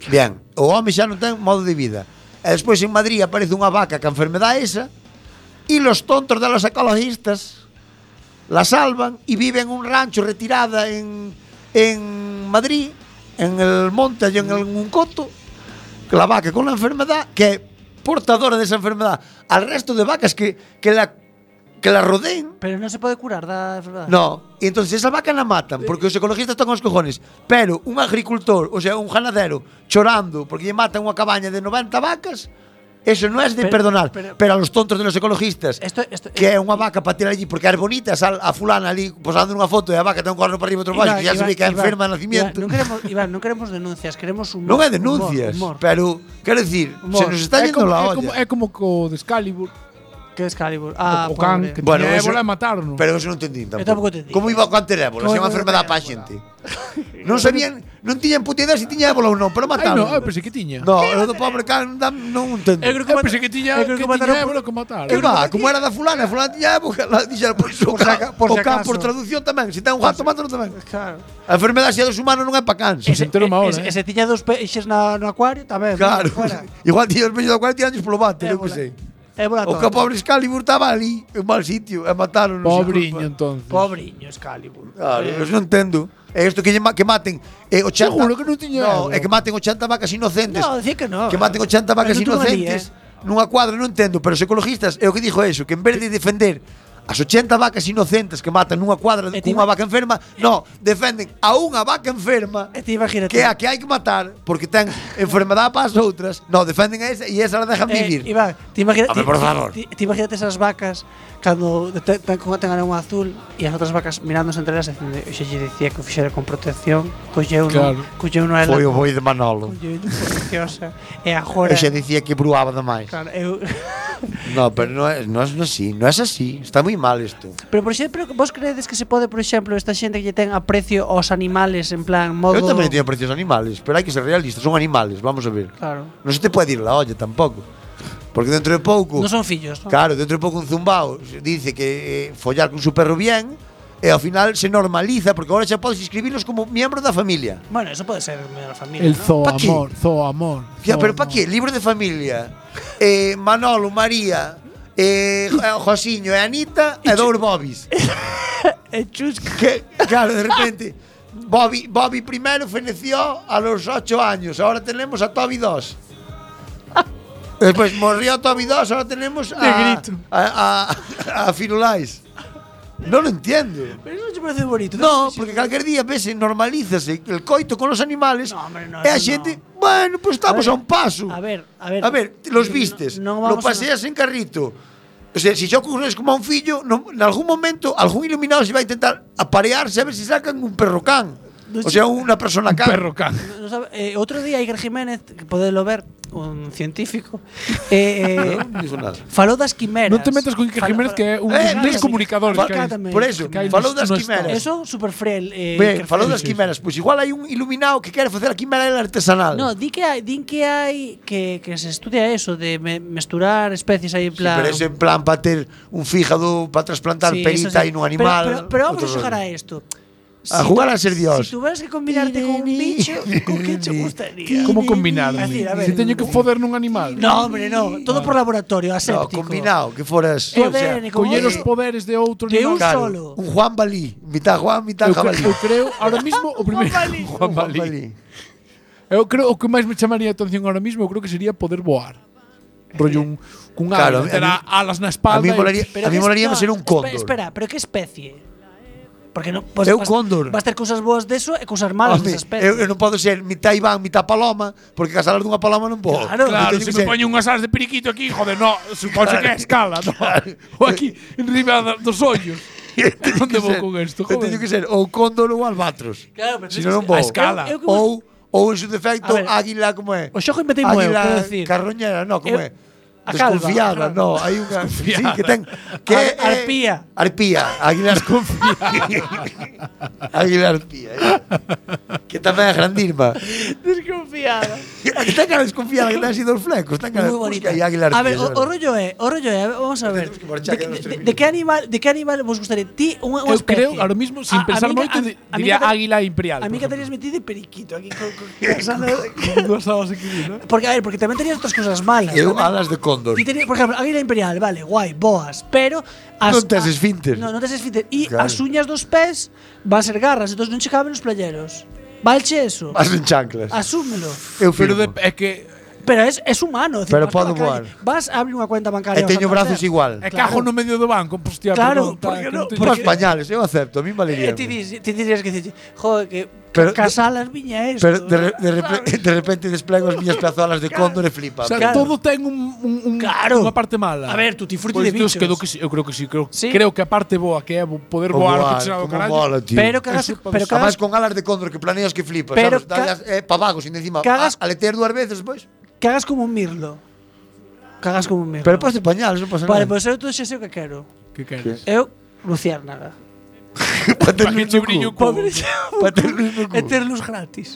E: Bien, o home xa non ten modo de vida. E despois en Madrid aparece unha vaca que a enfermedade é esa e los tontos de los ecologistas la salvan y vive en un rancho retirada en, en Madrid, en el monte y en algún coto, que la vaca con la enfermedad, que é portadora de esa enfermedad, al resto de vacas que, que, la, que la rodeen,
G: Pero non se pode curar da enfermedade.
E: No, e entón esa vaca la matan porque os ecologistas están os cojones, pero un agricultor, o sea, un ganadero chorando porque lle matan unha cabaña de 90 vacas, eso non é
G: Pero-
E: de perdonar,
G: pero-
E: pero, a los tontos de los ecologistas.
G: Esto- esto-
E: que é unha vaca para tirar allí porque é bonita, sal a fulana ali posando unha foto e a vaca ten un corno para arriba e outro para baixo, que ya se ve que é enferma de nacimiento.
G: Iván, non queremos, Iván, non queremos denuncias, queremos humor.
E: non é denuncias,
G: humor, humor.
E: pero quero decir,
G: Humor.
E: se nos está
H: é
E: yendo la
H: como, é,
E: olla.
H: como, é como co de Excalibur,
G: Que Excalibur. Ah,
H: o, o can,
G: pobre.
H: que
E: Bueno,
H: bueno, tiña
E: eso-
H: ébola e mataron.
E: Pero eso non entendín
G: tampouco
E: tampouco.
G: entendín.
E: Como iba con ter
G: Como
E: ébola, se é
G: iba
E: unha
G: con ter
E: enfermedade para a xente. non sabían, non tiñan puta idea se tiña ébola ou non, pero
H: Ai,
E: mataron.
H: no, eu pensei que tiña.
E: No, o do pobre can dam- non entendo.
H: Eu creo que, pensei que tiña,
G: eu creo
H: que
G: que mataron
H: tiña
G: por-
H: ébola que mataron.
E: Que va, como era da fulana, a fulana tiña ébola, la dixeron, pois
G: Por
E: o
G: si
E: can,
G: aca- por si
E: o can
G: acaso.
E: por traducción tamén, se ten un gato, mátalo tamén.
G: Claro.
E: A enfermedade xa dos humanos non é para cans.
H: Ese- enterou unha hora,
G: Ese,
H: eh.
G: ese tiña dos peixes na, no acuario tamén.
E: Claro,
G: fuera.
E: igual tiña os meños da 40 años polo bate, eu
G: Ébola.
E: pensei.
G: Ébola
E: O
G: toda.
E: que o pobre Excalibur estaba ali, en mal sitio, e mataron.
H: Pobriño, entonces.
G: Pobriño Excalibur.
E: Claro, eu non entendo. É isto que, lle ma- que maten eh, 80...
H: Seguro que non tiña
E: No, é
H: ébola.
E: que maten 80 vacas inocentes.
G: No, decía que no.
E: que maten 80 vacas
G: Pero non tuvo ali,
E: inocentes nunha cuadra, non entendo, pero os ecologistas é o que dixo é iso, que en vez de defender as 80 vacas inocentes que matan nunha cuadra
G: E ti
E: cunha
G: ima-
E: vaca enferma, no, defenden a unha vaca enferma
G: E ti imagínate.
E: que é a que hai que matar porque ten enfermedade para as outras. No, defenden a esa e esa la
G: Eh,
E: dejan vivir.
G: Iván, te imagina- ti-
E: Home, por
G: ti-
E: favor.
G: Ti, ti imagínate esas vacas cando detectan como tengan un azul e as outras vacas mirándose entre elas e dicendo, "Eu xa lle dicía que o fixera con protección, colleu uno,
H: Claro.
G: colleu uno a ela,
E: Foi o boi de Manolo.
G: colleu uno preciosa." E agora,
E: Eu xa dicía que bruaba demais.
G: claro, eu,
E: No, pero non é, non é así, non é así. Está moi mal isto.
G: pero por exemplo, vos credes que se pode, por exemplo, esta xente que lle ten aprecio aos animales en plan modo
E: Eu tamén teño precios animales, pero hai que ser realistas, son animales, vamos a ver.
G: Claro.
E: Non se te pode ir la olla tampouco. Porque dentro de pouco...
G: Non son fillos, non?
E: Claro, dentro de pouco un zumbao dice que eh, follar con su perro bien e ao final se normaliza porque agora xa podes inscribirlos como miembros da familia.
G: Bueno, eso pode ser mellor familia,
H: El
G: non?
H: zoo
E: Pa' qué?
H: amor, zoo amor.
E: Ya,
H: zoo
E: pero pa
H: amor.
E: que? Libro de familia. Eh, Manolo, María, eh, Jo- Josiño e Anita e dous Bobis.
G: E chusca.
E: Que, claro, de repente Bobby, Bobby primero feneció a los 8 años. Ahora tenemos a Toby 2. Después morrió Toby 2, ahora tenemos a,
G: Negrito.
E: a, a, a Firulais. No lo entiendo.
G: Pero eso non te parece bonito.
E: No,
G: Eso-
E: porque calquer día ves, normalízase el coito con los animales.
G: No, hombre, no,
E: e a
G: eso
E: xente,
G: no.
E: bueno, pues estamos
G: A ver,
E: a, un paso.
G: a ver, a ver.
E: A ver, los
G: No,
E: vistes,
G: no vamos
E: lo
G: a-
E: paseas en carrito. O sea, si xocos es como a un fillo, no, en algún momento algún iluminado se va a intentar aparearse a ver si sacan un perro can. O sea, unha persona can.
H: Perro can.
G: No sabe- eh, outro día Iker Jiménez, que podelo ver, un científico, eh, eh,
B: Non dixo nada.
G: falou das quimeras.
H: Non te metas con Iker
G: Falou-
H: Jiménez, que é un
E: Eh,
H: dos comunicadores
E: fa-
H: que hai.
G: Cállate.
E: Por eso,
H: que hai
E: falou das
H: nos- nos
E: quimeras.
G: Eso super freel. Eh,
E: Ben,
G: Iker
E: falou
G: Jiménez.
E: das quimeras. Pois igual hai un iluminado que quere facer a quimera del artesanal.
G: No, di que hai, din que hai que, que se estudia eso de me- mesturar especies aí en
E: Sí,
G: plan.
E: pero ese en plan para ter un fígado, para trasplantar
G: Sí, eso
E: perita
G: sí.
E: aí nun animal.
G: Pero, pero, pero vamos a
E: outro
G: xogar a
E: rollo.
G: isto.
E: A
G: Si tú-
E: jugar a ser dios.
G: Si tuvieras que combinarte con un bicho, ¿con qué te gustaría?
H: Como combinar?
G: Es decir, a ver. eh,
H: Se teño que foder nun animal.
G: No, hombre, no. Todo por laboratorio,
E: No,
G: aséptico.
E: combinado, que foras.
G: Tu ADN, como
H: Coller os
G: de-
H: poderes de outro
G: de un solo.
E: Claro,
H: animal.
E: Un Juan Balí, mitad Juan, mitad
H: Eu,
E: jabalí.
H: cre- eu creo, ahora mismo, o primeiro... Juan
E: Un
H: Balí. Eu creo o que máis me chamaría a atención ahora mismo, eu creo que sería poder voar. Rollo un cun
E: Claro, a
H: claro, ave, meter
E: mí-
H: a- alas na
E: A
H: espalda.
E: mí
H: e-
E: molaría, a mí
G: qué-
E: molaría
G: no,
E: ser un
G: espe-
E: cóndor.
G: Espera, pero que especie? Porque no, pues,
E: É un
G: vas,
E: cóndor.
G: Vas ter cousas boas deso e cousas malas
E: Home,
G: desa especie.
E: eu, eu non podo ser mitad Iván, mitad Paloma, porque casalar dunha paloma non podo.
G: Claro.
H: Claro,
E: Eu teño
H: se
E: que ser-
H: me poñen unhas alas de periquito aquí, joder, no, supoño que é a escala, no? Ou aquí, en riba da- dos ollos. Onde vou con isto,
E: Eu teño
H: joder?
E: que ser ou cóndor ou albatros.
G: Claro, pero
E: Si
G: tens
E: non, non
G: que-
E: vou.
H: a escala.
G: Eu- eu que
E: Ou, ou en su defecto,
G: A ver,
E: águila, como é?
G: o xogo inventei moi,
E: Águila
G: quero decir.
E: carroñera, non, como
G: Eu-
E: é?
G: a calva, a calva.
E: Desconfiada, non, hai unha... Sí, que ten... Que
G: Ar-
E: é-
G: arpía.
E: Arpía, águila desconfiada. águila arpía, eh. Que tamén é grandísima.
G: Desconfiada.
E: A que ten cara desconfiada, que ten así dos flecos. Ten cara...
G: Muy bonita.
E: Busca aí águila arpía.
G: a ver, o,
E: sabe?
G: o rollo é, o rollo é, a ver, vamos a ver.
E: Tenemos que marchar,
G: de,
E: que nos
G: de-
E: termine.
G: de que animal, de que animal vos gustaría ti unha unha
H: Eu
G: especie?
H: creo, ahora mismo, sin
G: A- a
H: pensar
G: mí que-
H: moito,
G: a-
H: di-
G: a mí
H: diría
G: que te-
H: águila imperial,
G: A mí que
H: por exemplo.
G: tenías metido de periquito aquí con, con, con-
H: Dúas alas aquí, ¿no?
G: Porque a ver, porque tamén tenías outras cousas malas.
E: Eu,
G: tamén.
E: alas de cóndor.
G: Ti tenías, por exemplo, águila imperial, vale, guai, boas, pero as
E: Non tes esfínter.
G: No, non tes esfínter e
E: Claro.
G: as uñas dos pés van ser garras, entón non che caben os playeros. Valche eso.
E: Vas en chanclas.
G: Asúmelo.
E: Eu
H: Pero
E: firmo.
H: de, é que
G: Pero es, es humano. es decir,
E: Pero
G: vas pola
E: podo
G: calle,
E: voar.
G: Vas a abrir unha cuenta bancaria.
E: E
G: ao
E: teño
G: Santander.
E: brazos igual.
H: é
G: Claro.
H: cajo no medio do banco, pues, hostia,
G: Claro,
H: perdón, tal,
G: porque
H: que
G: no-
H: non teño-
E: Para os pañales, eu acepto, a mí
G: E
E: valería.
G: ti dis- ti dirías que dices, joder, que
E: Pero-
G: casalas viña esto.
E: Pero de, re- de, repre- de repente desplego as miñas plazolas de cóndor e flipa.
H: O sea,
G: Claro.
H: todo ten un, un, un-
G: Claro.
H: unha parte mala.
G: A ver, tutti frutti de
H: Pois Pues Dios,
G: bichos.
H: creo que sí, eu creo que sí, creo,
G: Sí.
H: creo que a parte boa que é vo- poder
E: O
H: voar,
E: voar,
H: que chegaba o
E: como
H: carallo.
E: mola, tío.
G: pero que hagas,
H: Eso pa-
G: pero que
E: Además
G: hagas,
E: con alas de cóndor que planeas que flipa,
G: Pero
E: sabes?
G: ca-
E: Dallas eh, pa vagos e encima
G: que hagas-
E: a- aletear dúas veces, pois.
G: que hagas como un mirlo. Que hagas como un mirlo.
E: Pero pois de pañales, non pasa
G: Vale,
E: nada.
G: pois eu todo xa sei o que quero.
H: Que queres?
G: Eu, luciérnaga.
E: para ter
H: Pa que
E: luz
H: che
E: no
H: brille
E: cu.
H: o cu.
E: Para ter luz no
G: E
E: cu.
G: ter luz gratis.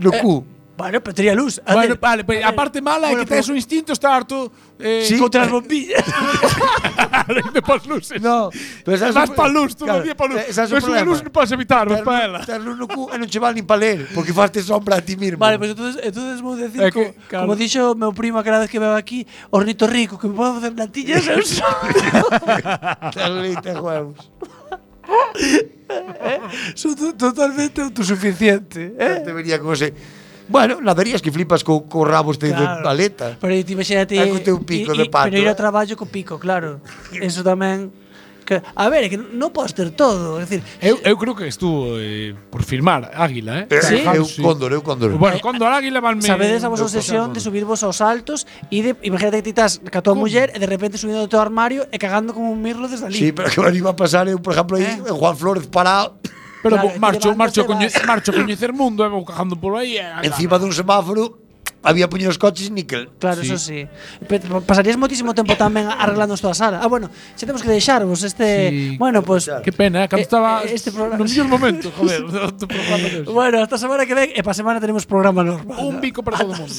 E: No cu.
G: Vale, pero tería luz. A
H: Bueno,
G: ver,
H: vale, pero a parte mala é
G: Bueno,
H: que tes
G: pero-
H: o instinto está harto eh,
E: Sí.
G: Contra as bombillas.
H: de pas luces.
E: No, pero sabes
H: Vas
E: o-
H: pa luz, todo
E: claro,
H: o día pa luz.
E: eh, sabes o
H: Ves unha
E: problema?
H: luz non podes evitar, vas
E: Ter
H: pa
E: luz-
H: ela.
E: Ter luz no cu e non che vale nin pa ler, porque faste sombra a ti mismo.
G: Vale, pois entonces, entonces vou decir
H: É
G: que,
H: que,
G: como,
H: claro.
G: como dixo meu primo aquela vez que veo aquí, Hornito Rico, que me podo facer natillas eu só.
E: Ter luz, ter huevos.
G: Son to- totalmente autosuficiente, eh?
E: Non te vería como se... Bueno, nadarías que flipas co, co rabo este de paleta.
G: Pero ti imagínate
E: É co teu pico de pato,
G: Pero ir ao
E: eh?
G: traballo co pico, claro. Eso tamén que, a ver, é que non podes ter todo, é dicir,
H: Eu, eu creo que estuvo eh, por firmar Águila, eh?
G: Sí? Eh,
E: Eu
H: sí.
E: cóndor, eu cóndor.
H: Bueno, cando a Águila van
G: Sabedes a vosa obsesión de subirvos aos altos e de imagínate que ti estás ca tua muller e de repente subindo do teu armario e cagando como un mirlo desde ali.
E: Sí, pero que me iba a pasar eu, por exemplo, aí,
G: Eh.
E: eh? Juan Flores parado
H: Pero
G: Claro,
H: claro,
G: que
H: marcho, marcho,
G: levantas e
H: coñe,
G: vas.
H: marcho a coñecer mundo, e vou cajando por aí. E,
E: encima dun semáforo, había puño os coches níquel.
G: Claro, sí. eso sí. Pe- pa- Pasarías moitísimo tempo tamén arreglando esta sala. Ah, bueno, xa temos que deixarvos este,
H: Sí,
G: bueno, pois
H: Que pena, eh, cando
G: Eh,
H: estaba
G: eh, este programa-
H: no mellor momento, joder, do programa de hoxe.
G: Bueno, esta semana que ven e pa semana tenemos programa normal.
H: un bico para todo o mundo.